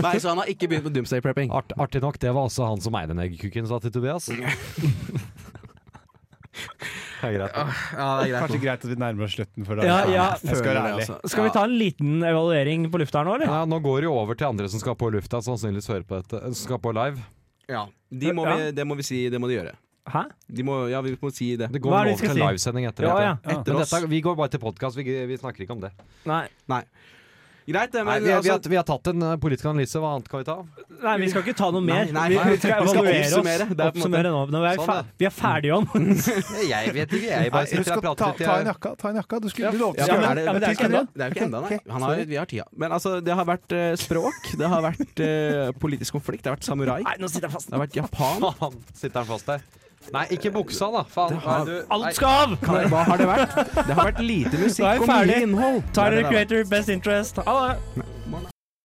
Speaker 6: Nei, så han har ikke begynt med doomsday prepping.
Speaker 7: Art, artig nok, det var også han som eide negerkuken, sa til Tobias. Det er greit.
Speaker 6: Ja, det er greit
Speaker 3: Kanskje
Speaker 6: nå.
Speaker 3: greit at vi nærmer oss slutten for dagen.
Speaker 5: Ja, ja.
Speaker 3: Jeg skal være ærlig.
Speaker 6: altså.
Speaker 5: Skal vi ta en liten evaluering på lufta her nå, eller?
Speaker 7: Ja, nå går det jo over til andre som skal på lufta, sannsynligvis hører på dette, som skal på live.
Speaker 6: Ja. De må vi, det må vi si, det må de gjøre.
Speaker 5: Hæ?
Speaker 6: De må, ja, vi må si det.
Speaker 7: Det
Speaker 5: Hva
Speaker 7: går
Speaker 5: er det
Speaker 7: vel
Speaker 5: vi skal
Speaker 7: over til
Speaker 5: si?
Speaker 7: livesending etter
Speaker 5: Ja,
Speaker 7: dette.
Speaker 5: ja.
Speaker 6: Etter
Speaker 7: Men
Speaker 6: oss.
Speaker 7: dette, vi går bare til podkast, vi, vi snakker ikke om det.
Speaker 5: Nei.
Speaker 6: Nei. Greit, det,
Speaker 7: Nei,
Speaker 6: men
Speaker 7: vi, vi,
Speaker 6: altså,
Speaker 7: har, vi har tatt en eh, politisk analyse. Hva annet kan vi ta?
Speaker 5: Nei, vi skal ikke ta noe mer.
Speaker 6: Nei, nei,
Speaker 5: vi, skal
Speaker 6: nei. Vi skal
Speaker 5: evaluere
Speaker 6: oppsummere.
Speaker 5: oss.
Speaker 6: Det er på en måte-
Speaker 5: Oppsummere nå. nå er vi,
Speaker 7: Sånn,
Speaker 5: fer- vi er ferdige om.
Speaker 9: Jeg vet ikke, jeg
Speaker 7: Nei,
Speaker 9: bare sitter
Speaker 7: husk
Speaker 9: og
Speaker 7: å ta,
Speaker 9: prater litt.
Speaker 7: ta en jakka. Ta en jakka. Du skulle du lovte å
Speaker 6: Ja,
Speaker 7: gjøre det.
Speaker 6: men, er det,
Speaker 5: ja, men
Speaker 6: det er jo ikke enda,
Speaker 5: enda.
Speaker 6: det er jo ikke enda nei.
Speaker 7: Ok,
Speaker 6: Han har, vi har tida. Men altså, det har vært eh, språk, det har vært eh, politisk konflikt, det har vært samurai,
Speaker 5: Nei, nå sitter jeg fast.
Speaker 6: det har vært Japan.
Speaker 7: Faen, sitter han fast der? Nei, ikke buksa, da. Faen. Nei, du, nei.
Speaker 5: Alt skal av!
Speaker 6: Kan- Hva har det vært? Det har vært lite
Speaker 5: Da er
Speaker 6: musikk
Speaker 5: vi
Speaker 6: og mye
Speaker 5: ferdig.
Speaker 6: innhold.
Speaker 5: Tyler the
Speaker 6: Det er det det har vært.
Speaker 5: Creator, best interest. Ha det!